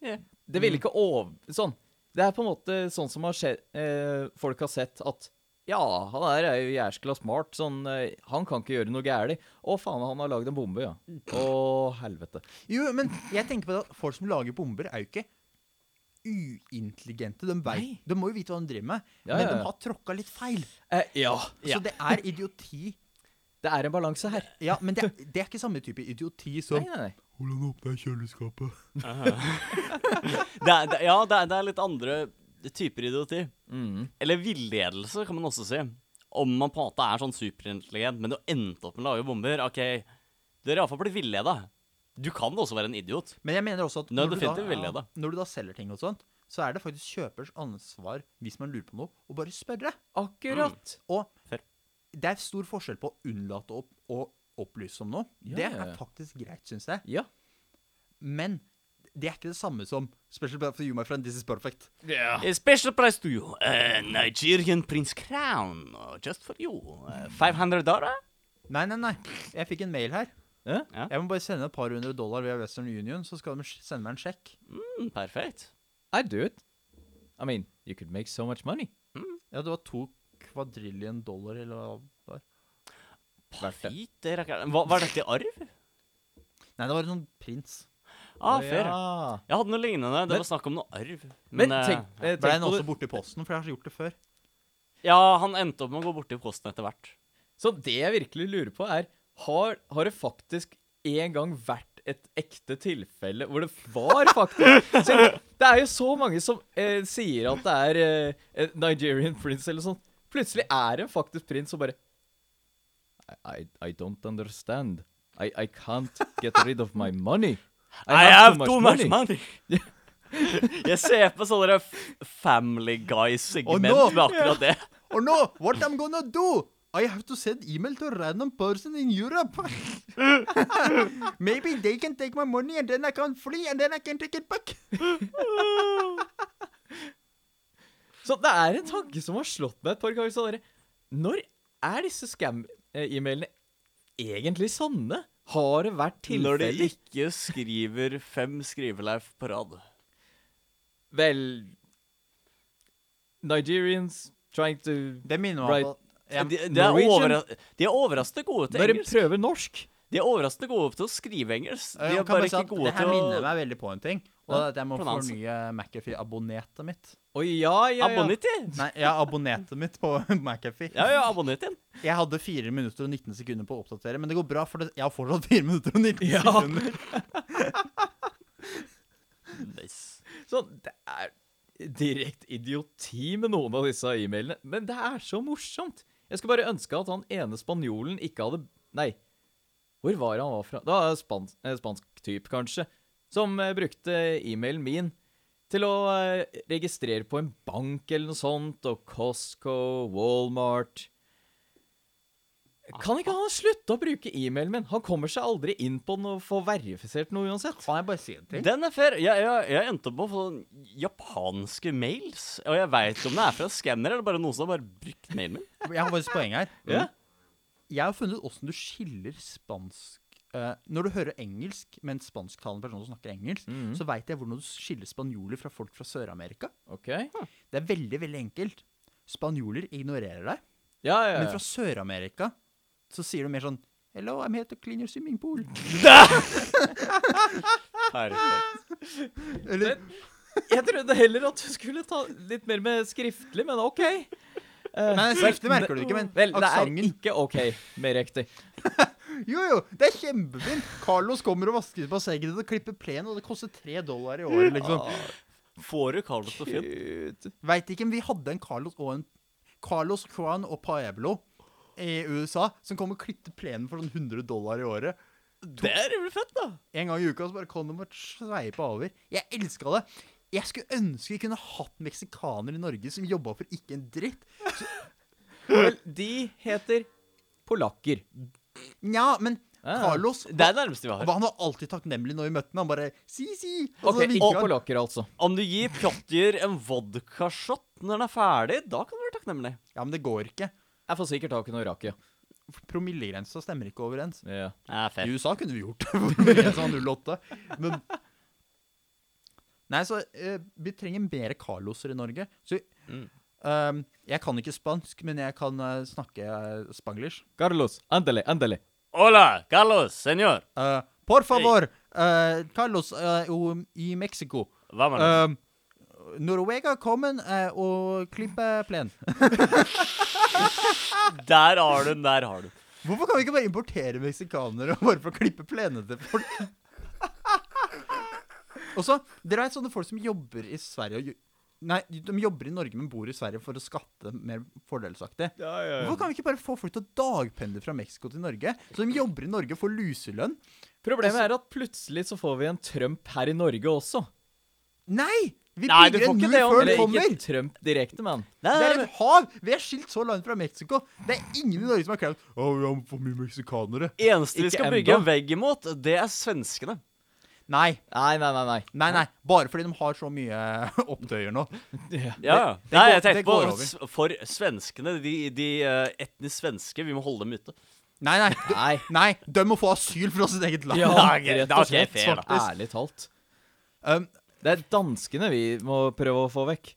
[SPEAKER 4] Ja.
[SPEAKER 3] Det vil ikke over... Sånn. Det er på en måte sånn som har skjedd, eh, folk har sett at ja, han her er jo jæskla smart. Sånn, eh, han kan ikke gjøre noe gærent. Å, faen, han har lagd en bombe, ja. Å, helvete.
[SPEAKER 2] Jo, men jeg tenker på det at folk som lager bomber, er jo ikke uintelligente. De, vet,
[SPEAKER 3] Nei.
[SPEAKER 2] de må jo vite hva de driver med,
[SPEAKER 3] Ja,
[SPEAKER 2] men
[SPEAKER 3] ja, ja.
[SPEAKER 2] de har tråkka litt feil.
[SPEAKER 3] Eh, ja.
[SPEAKER 2] Så det er idioti.
[SPEAKER 3] Det er en balanse her.
[SPEAKER 2] Ja, Men det, er- det er ikke samme type idioti som
[SPEAKER 3] Nei, nei, nei.
[SPEAKER 1] Hvordan åpner jeg kjøleskapet?
[SPEAKER 4] det er, det, Ja, det er, det er litt andre typer idioti.
[SPEAKER 3] Mm.
[SPEAKER 4] Eller villedelse, kan man også si. Om man på en måte er sånn superintelligent, men du har endt opp med å lage bomber. OK, du har iallfall blitt villeda. Du kan også være en idiot.
[SPEAKER 2] Men jeg mener også at
[SPEAKER 4] Nei,
[SPEAKER 2] når du,
[SPEAKER 4] definitivt vil jeg
[SPEAKER 2] da,
[SPEAKER 4] det.
[SPEAKER 2] når du da selger ting og sånt, så er det faktisk kjøpers ansvar, hvis man lurer på noe, å bare spørre.
[SPEAKER 3] Akkurat.
[SPEAKER 2] Og
[SPEAKER 4] Fair.
[SPEAKER 2] det er stor forskjell på å unnlate å, å opplyse om noe.
[SPEAKER 3] Ja,
[SPEAKER 2] det
[SPEAKER 3] ja, ja.
[SPEAKER 2] er faktisk greit, syns jeg.
[SPEAKER 3] Ja.
[SPEAKER 2] Men det er ikke det samme som Special Bad for you, my friend, this is perfect.
[SPEAKER 1] Ja.
[SPEAKER 4] A special price to you. A Nigerian Prince Crown, uh, just for you. Uh, 500 dollar?
[SPEAKER 2] Nei, nei, nei. Jeg fikk en mail her.
[SPEAKER 3] Ja?
[SPEAKER 2] Jeg må bare sende et par hundre dollar via Western Union, så skal de sj- sende meg en sjekk.
[SPEAKER 4] Mm, perfekt.
[SPEAKER 3] I do it. I mean, you could make so much money.
[SPEAKER 2] Ja, det var to kvadrillion dollar, eller hva det var.
[SPEAKER 3] Verdt det.
[SPEAKER 4] Fy, det rakker- Hva, var dette i arv?
[SPEAKER 2] Nei, det var en sånn prins.
[SPEAKER 4] Ah,
[SPEAKER 3] Å,
[SPEAKER 4] fair.
[SPEAKER 3] ja.
[SPEAKER 4] Jeg hadde noe lignende. Det
[SPEAKER 3] Men-
[SPEAKER 4] var snakk om noe arv.
[SPEAKER 3] Men,
[SPEAKER 4] eh,
[SPEAKER 3] tenk, eh,
[SPEAKER 2] Ble
[SPEAKER 3] tenk
[SPEAKER 2] den
[SPEAKER 3] på det.
[SPEAKER 2] også borte i posten, for jeg har gjort det før.
[SPEAKER 4] Ja, han endte opp med å gå borti posten etter hvert.
[SPEAKER 3] Så det jeg virkelig lurer på, er Har, har det faktisk en gang vært et ekte tilfelle hvor det var faktisk Se, Det er jo så mange som eh, sier at det er eh, en Nigerian prince eller sånn. Plutselig er det en faktisk prins som bare I, I, I don't understand. I, I can't get rid of my money.
[SPEAKER 4] I have too much money. jeg ser på sånne der f- Family
[SPEAKER 2] Og
[SPEAKER 4] Guy-segment
[SPEAKER 2] nå-
[SPEAKER 4] med akkurat det.
[SPEAKER 2] Or no, what I'm gonna do? I have to send email to a random person in Europe. Maybe they can take my money and then I can flee and then I can take it back.
[SPEAKER 3] Så det er en tanke som har slått meg et par ganger. Så dere, når er disse scam-e-mailene egentlig sanne? Har det vært
[SPEAKER 4] Når de
[SPEAKER 3] tilfeller?
[SPEAKER 4] ikke skriver fem skriveleif på rad.
[SPEAKER 3] Vel Nigerians trying to
[SPEAKER 2] Det minner meg
[SPEAKER 3] Right.
[SPEAKER 2] om
[SPEAKER 4] De,
[SPEAKER 2] at jeg,
[SPEAKER 4] de, er
[SPEAKER 3] Norwegian?
[SPEAKER 4] overra de er overraskende gode til
[SPEAKER 3] Når de
[SPEAKER 4] engelsk.
[SPEAKER 3] prøver norsk.
[SPEAKER 4] De er overraskende gode til å skrive engelsk. De
[SPEAKER 2] jeg
[SPEAKER 4] er
[SPEAKER 2] kan bare
[SPEAKER 4] bare
[SPEAKER 2] si
[SPEAKER 4] ikke
[SPEAKER 2] at
[SPEAKER 4] gode
[SPEAKER 2] det her
[SPEAKER 4] til
[SPEAKER 2] minner
[SPEAKER 4] å
[SPEAKER 2] meg veldig på en ting. Og det er at jeg må
[SPEAKER 4] Pronounce.
[SPEAKER 2] fornye McAfee-abonnetet mitt.
[SPEAKER 3] Å ja, ja, ja.
[SPEAKER 4] Abonnet i.
[SPEAKER 2] Nei, ja, abonnetet mitt på McAfee.
[SPEAKER 4] Ja, ja, abonnet i.
[SPEAKER 2] Jeg hadde 4 minutter og 19 sekunder på å oppdatere, men det går bra, for det, jeg har fortsatt 4 minutter og 19
[SPEAKER 3] Ja.
[SPEAKER 2] sekunder.
[SPEAKER 4] Nice.
[SPEAKER 3] Så det er direkte idioti med noen av disse e-mailene. Men det er så morsomt. Jeg skulle bare ønske at han ene spanjolen ikke hadde Nei, hvor var det han var fra? Det var spansk, spansk type, kanskje. Som eh, brukte e-mailen min til å eh, registrere på en bank eller noe sånt, og Costco, Walmart Kan ikke han slutte å bruke e-mailen min? Han kommer seg aldri inn på den og får verifisert noe uansett.
[SPEAKER 2] Kan jeg bare si en ting?
[SPEAKER 4] Den er fair. Jeg, jeg, jeg endte opp med å få sånn japanske mails. Og jeg veit ikke om det er fra skanner eller bare noen som har bare brukt mailen min.
[SPEAKER 2] Jeg har faktisk poeng her.
[SPEAKER 3] Ja.
[SPEAKER 2] Jeg har funnet ut åssen du skiller spansk eh, Når du hører engelsk med en spansktalende person som snakker engelsk,
[SPEAKER 3] Mhm.
[SPEAKER 2] så veit jeg hvordan du skiller spanjoler fra folk fra Sør-Amerika.
[SPEAKER 3] OK? Ja,
[SPEAKER 2] Det er veldig, veldig enkelt. Spanjoler ignorerer deg,
[SPEAKER 3] ja, ja.
[SPEAKER 2] men fra Sør-Amerika så sier du mer sånn Hello, I'm here to clean your swimming pool.
[SPEAKER 4] Perfekt.
[SPEAKER 2] Eller,
[SPEAKER 3] Jeg trodde heller at du skulle ta litt mer med skriftlig, men OK. Eh,
[SPEAKER 2] Nei, skriftlig merker du ikke, men
[SPEAKER 3] Vel, det er
[SPEAKER 2] aksangen.
[SPEAKER 3] ikke OK, mer riktig.
[SPEAKER 2] Jo, jo, det er kjempefint! Carlos kommer og vasker bassenget ditt og klipper plenen, og det koster tre dollar i året, liksom.
[SPEAKER 4] Får du Carlos til å finne?
[SPEAKER 3] Gud.
[SPEAKER 2] Veit ikke, men vi hadde en Carlos og en Carlos Crown og Paeblo. i USA som kom og klippet plenen for sånn 100 dollar i året.
[SPEAKER 4] Det er jævlig fett, da.
[SPEAKER 2] En gang i uka så bare kom de og sveipa over. Jeg elska det. Jeg skulle ønske vi kunne hatt meksikaner i Norge som jobba for ikke en dritt.
[SPEAKER 3] Vel, de heter polakker.
[SPEAKER 2] Nja, men
[SPEAKER 3] Ah.
[SPEAKER 2] Carlos
[SPEAKER 4] Det er det nærmeste vi har.
[SPEAKER 2] Han var alltid takknemlig når vi møtte ham. Han bare si, si. Altså, Og
[SPEAKER 3] Ok,
[SPEAKER 2] så vinket
[SPEAKER 3] og
[SPEAKER 2] han.
[SPEAKER 3] polakker, altså.
[SPEAKER 4] Om du gir Pjotr en vodkashot når den er ferdig, da kan du være takknemlig.
[SPEAKER 2] Ja, men det går ikke.
[SPEAKER 3] Jeg får sikkert tak i noe rakia.
[SPEAKER 2] Promillegrensa stemmer ikke overens.
[SPEAKER 3] Ja.
[SPEAKER 4] Ja,
[SPEAKER 2] I USA kunne vi gjort det. for vi er sånn 08. Men Nei, så eh, vi trenger mer Carloser i Norge. Så
[SPEAKER 4] Mm.
[SPEAKER 2] ehm, Jeg kan ikke spansk, men jeg kan eh, snakke eh, spanglish.
[SPEAKER 3] Carlos, endelig, endelig.
[SPEAKER 4] Hola, Carlos, senor.
[SPEAKER 2] Eh, por favor, eh, Carlos eh, o- i Mexico.
[SPEAKER 4] Hva med
[SPEAKER 2] Uh, Norvega kommen eh, og klippe plen. Eh.
[SPEAKER 4] Der har du den, der har du den.
[SPEAKER 2] Hvorfor kan vi ikke bare importere meksikanere bare for å klippe plenene til folk? og så, Dere er sånne folk som jobber i Sverige og jo- Nei, de jobber i Norge, men bor i Sverige for å skatte mer fordelsaktig. Hvorfor kan vi ikke bare få folk til å dagpendle fra Mexico til Norge? Så de jobber i Norge og får luselønn?
[SPEAKER 3] Problemet er at plutselig så får vi en Trump her i Norge også.
[SPEAKER 2] Nei! Vi
[SPEAKER 4] Nei, du
[SPEAKER 2] bygger en
[SPEAKER 4] får ikke
[SPEAKER 2] mur
[SPEAKER 4] det om-
[SPEAKER 2] før
[SPEAKER 3] Eller
[SPEAKER 2] den kommer!
[SPEAKER 3] ikke Trump direkte, men
[SPEAKER 2] Det er et hav! Vi er skilt så langt fra Mexico. Det er ingen i Norge som har krevd Å, vi har for mye meksikanere.
[SPEAKER 4] eneste vi
[SPEAKER 3] Ikke
[SPEAKER 4] skal
[SPEAKER 3] enda.
[SPEAKER 4] bygge en vegg imot, det er svenskene.
[SPEAKER 2] Nei,
[SPEAKER 3] Nei, nei, nei. nei.
[SPEAKER 2] nei, nei. Bare fordi de har så mye opptøyer nå.
[SPEAKER 3] Ja.
[SPEAKER 4] Ja, ja. Nei,
[SPEAKER 2] går-
[SPEAKER 4] jeg tenkte
[SPEAKER 2] det
[SPEAKER 4] på
[SPEAKER 2] går over.
[SPEAKER 4] s- for svenskene, de, de eh, etnisk svenske, vi må holde dem ute.
[SPEAKER 2] Nei, nei. du-
[SPEAKER 3] Nei.
[SPEAKER 2] Nei, de må få asyl fra sitt eget land.
[SPEAKER 3] Ja,
[SPEAKER 4] Da er ikke-
[SPEAKER 3] rett
[SPEAKER 4] da er
[SPEAKER 3] og
[SPEAKER 4] ikke jeg
[SPEAKER 3] slett.
[SPEAKER 4] fair, da.
[SPEAKER 3] Ærlig talt.
[SPEAKER 2] Um,
[SPEAKER 3] Det er danskene vi må prøve å få vekk.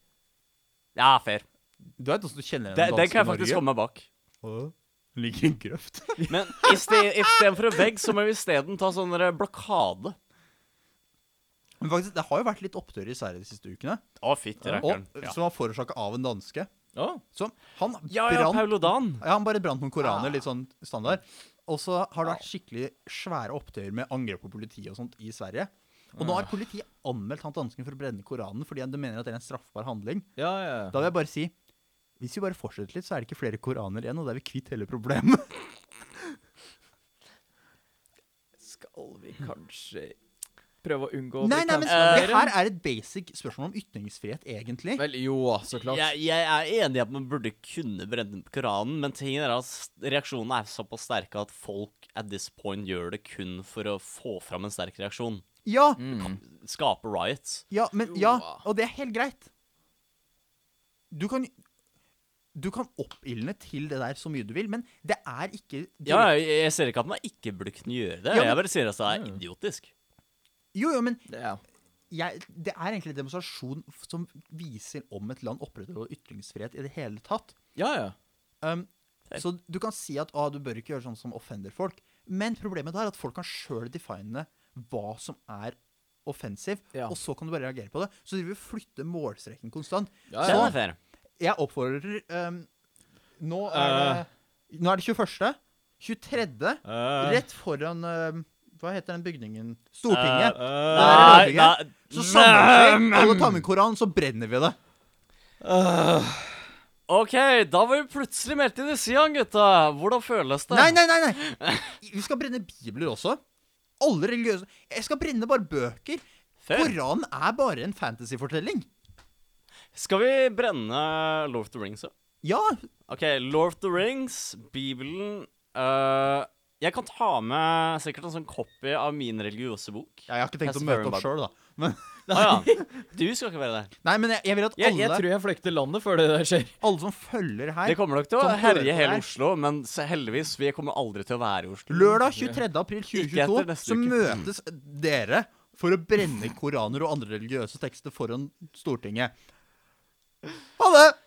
[SPEAKER 4] Ja, fair.
[SPEAKER 2] du vet hvordan du kjenner
[SPEAKER 4] Det, den kan jeg faktisk komme meg bak.
[SPEAKER 2] komme. Ligger i en grøft.
[SPEAKER 4] Men istedenfor en vegg, så må vi isteden ta sånn der blokade.
[SPEAKER 2] Men faktisk, det har jo vært litt opptøyer i Sverige de siste ukene.
[SPEAKER 4] Å, fytti
[SPEAKER 2] Og,
[SPEAKER 4] rakkeren. Ja.
[SPEAKER 2] Som var forårsaka av en danske.
[SPEAKER 3] Å,
[SPEAKER 2] Som han
[SPEAKER 4] ja, ja, Ah.
[SPEAKER 2] brant
[SPEAKER 4] Paulo Dan.
[SPEAKER 2] Ja, han bare brant noen koraner, litt sånn standard. Og så har det vært skikkelig svære opptøyer med angrep på politiet og sånt i Sverige. Og
[SPEAKER 4] Ah.
[SPEAKER 2] nå har politiet anmeldt han dansken for å brenne Koranen fordi de mener at det er en straffbar handling.
[SPEAKER 3] ja, ja.
[SPEAKER 2] Da vil jeg bare si hvis vi bare fortsetter litt, så er det ikke flere koraner igjen, og da er vi kvitt hele problemet.
[SPEAKER 3] Skal vi kanskje prøve å unngå å
[SPEAKER 2] Nei,
[SPEAKER 3] bli
[SPEAKER 2] nei, men
[SPEAKER 3] cancelled
[SPEAKER 2] det
[SPEAKER 3] mer?
[SPEAKER 2] her er et basic spørsmål om ytringsfrihet, egentlig.
[SPEAKER 3] Vel, jo, så klart.
[SPEAKER 4] Jeg, jeg er enig i at man burde kunne brenne Koranen, men tingen er at s- reaksjonene er såpass sterke at folk at this point gjør det kun for å få fram en sterk reaksjon.
[SPEAKER 2] Ja,
[SPEAKER 3] Mm.
[SPEAKER 4] Skape riots.
[SPEAKER 2] ja, men ja,
[SPEAKER 3] Joa.
[SPEAKER 2] og det er helt greit. Du kan Du kan oppildne til det der så mye du vil, men det er ikke
[SPEAKER 4] Ja, jeg, jeg ser ikke at man ikke burde kunne gjøre det.
[SPEAKER 2] Ja, men-
[SPEAKER 4] Jeg bare sier at det er idiotisk.
[SPEAKER 2] Jo, jo, men
[SPEAKER 3] Ja.
[SPEAKER 2] jeg, det er egentlig en demonstrasjon f- som viser om et land opprettholder ytringsfrihet i det hele tatt.
[SPEAKER 3] ja, ja.
[SPEAKER 2] Um, så du kan si at ah, du bør ikke gjøre sånn som offender folk, men problemet er at folk kan sjøl define hva som er offensiv,
[SPEAKER 3] Ja.
[SPEAKER 2] og så kan du bare reagere på det. Så de vil flytte målstreken konstant.
[SPEAKER 3] Ja,
[SPEAKER 4] Den
[SPEAKER 3] ja.
[SPEAKER 4] er fair.
[SPEAKER 2] Jeg oppfordrer um, nå, er det, nå er det 21. 23.
[SPEAKER 3] Eh.
[SPEAKER 2] Rett foran um, Hva heter den bygningen? Stortinget.
[SPEAKER 3] Eh,
[SPEAKER 2] Der er det Norge.
[SPEAKER 4] Nei, nei,
[SPEAKER 2] Så
[SPEAKER 4] nei.
[SPEAKER 2] samler vi alle tar med Koranen, så brenner vi det.
[SPEAKER 4] OK, da var vi plutselig meldt inn i Sian, gutta. Hvordan føles det?
[SPEAKER 2] Nei, nei, nei, nei. Vi skal brenne bibler også. Alle religiøse Jeg skal brenne bare bøker.
[SPEAKER 4] Fair.
[SPEAKER 2] Koranen er bare en fantasyfortelling.
[SPEAKER 4] Skal vi brenne Lord of the Rings òg?
[SPEAKER 2] Ja.
[SPEAKER 4] OK, Lord of the Rings, Bibelen øh, Jeg kan ta med sikkert en sånn copy av min religiøse bok.
[SPEAKER 2] Jeg har ikke tenkt å
[SPEAKER 4] Jeg skal
[SPEAKER 2] møte
[SPEAKER 4] bare-
[SPEAKER 2] opp sjøl, da. Men,
[SPEAKER 4] Ah, ja. Du skal ikke være der.
[SPEAKER 2] nei, men jeg, jeg vil at
[SPEAKER 3] jeg, jeg
[SPEAKER 2] alle,
[SPEAKER 3] tror jeg flykter landet før det der skjer.
[SPEAKER 2] alle som følger
[SPEAKER 4] Det
[SPEAKER 2] her
[SPEAKER 4] kommer nok til å
[SPEAKER 2] Sånn
[SPEAKER 4] herje
[SPEAKER 2] hører
[SPEAKER 4] hele
[SPEAKER 2] jeg.
[SPEAKER 4] Oslo, men så heldigvis, vi kommer aldri til å være i Oslo.
[SPEAKER 2] Lørdag 23. april
[SPEAKER 4] Ikke etter
[SPEAKER 2] 2022
[SPEAKER 4] neste
[SPEAKER 2] så
[SPEAKER 4] uke.
[SPEAKER 2] møtes dere for å brenne koraner og andre religiøse tekster foran Stortinget. Ha det!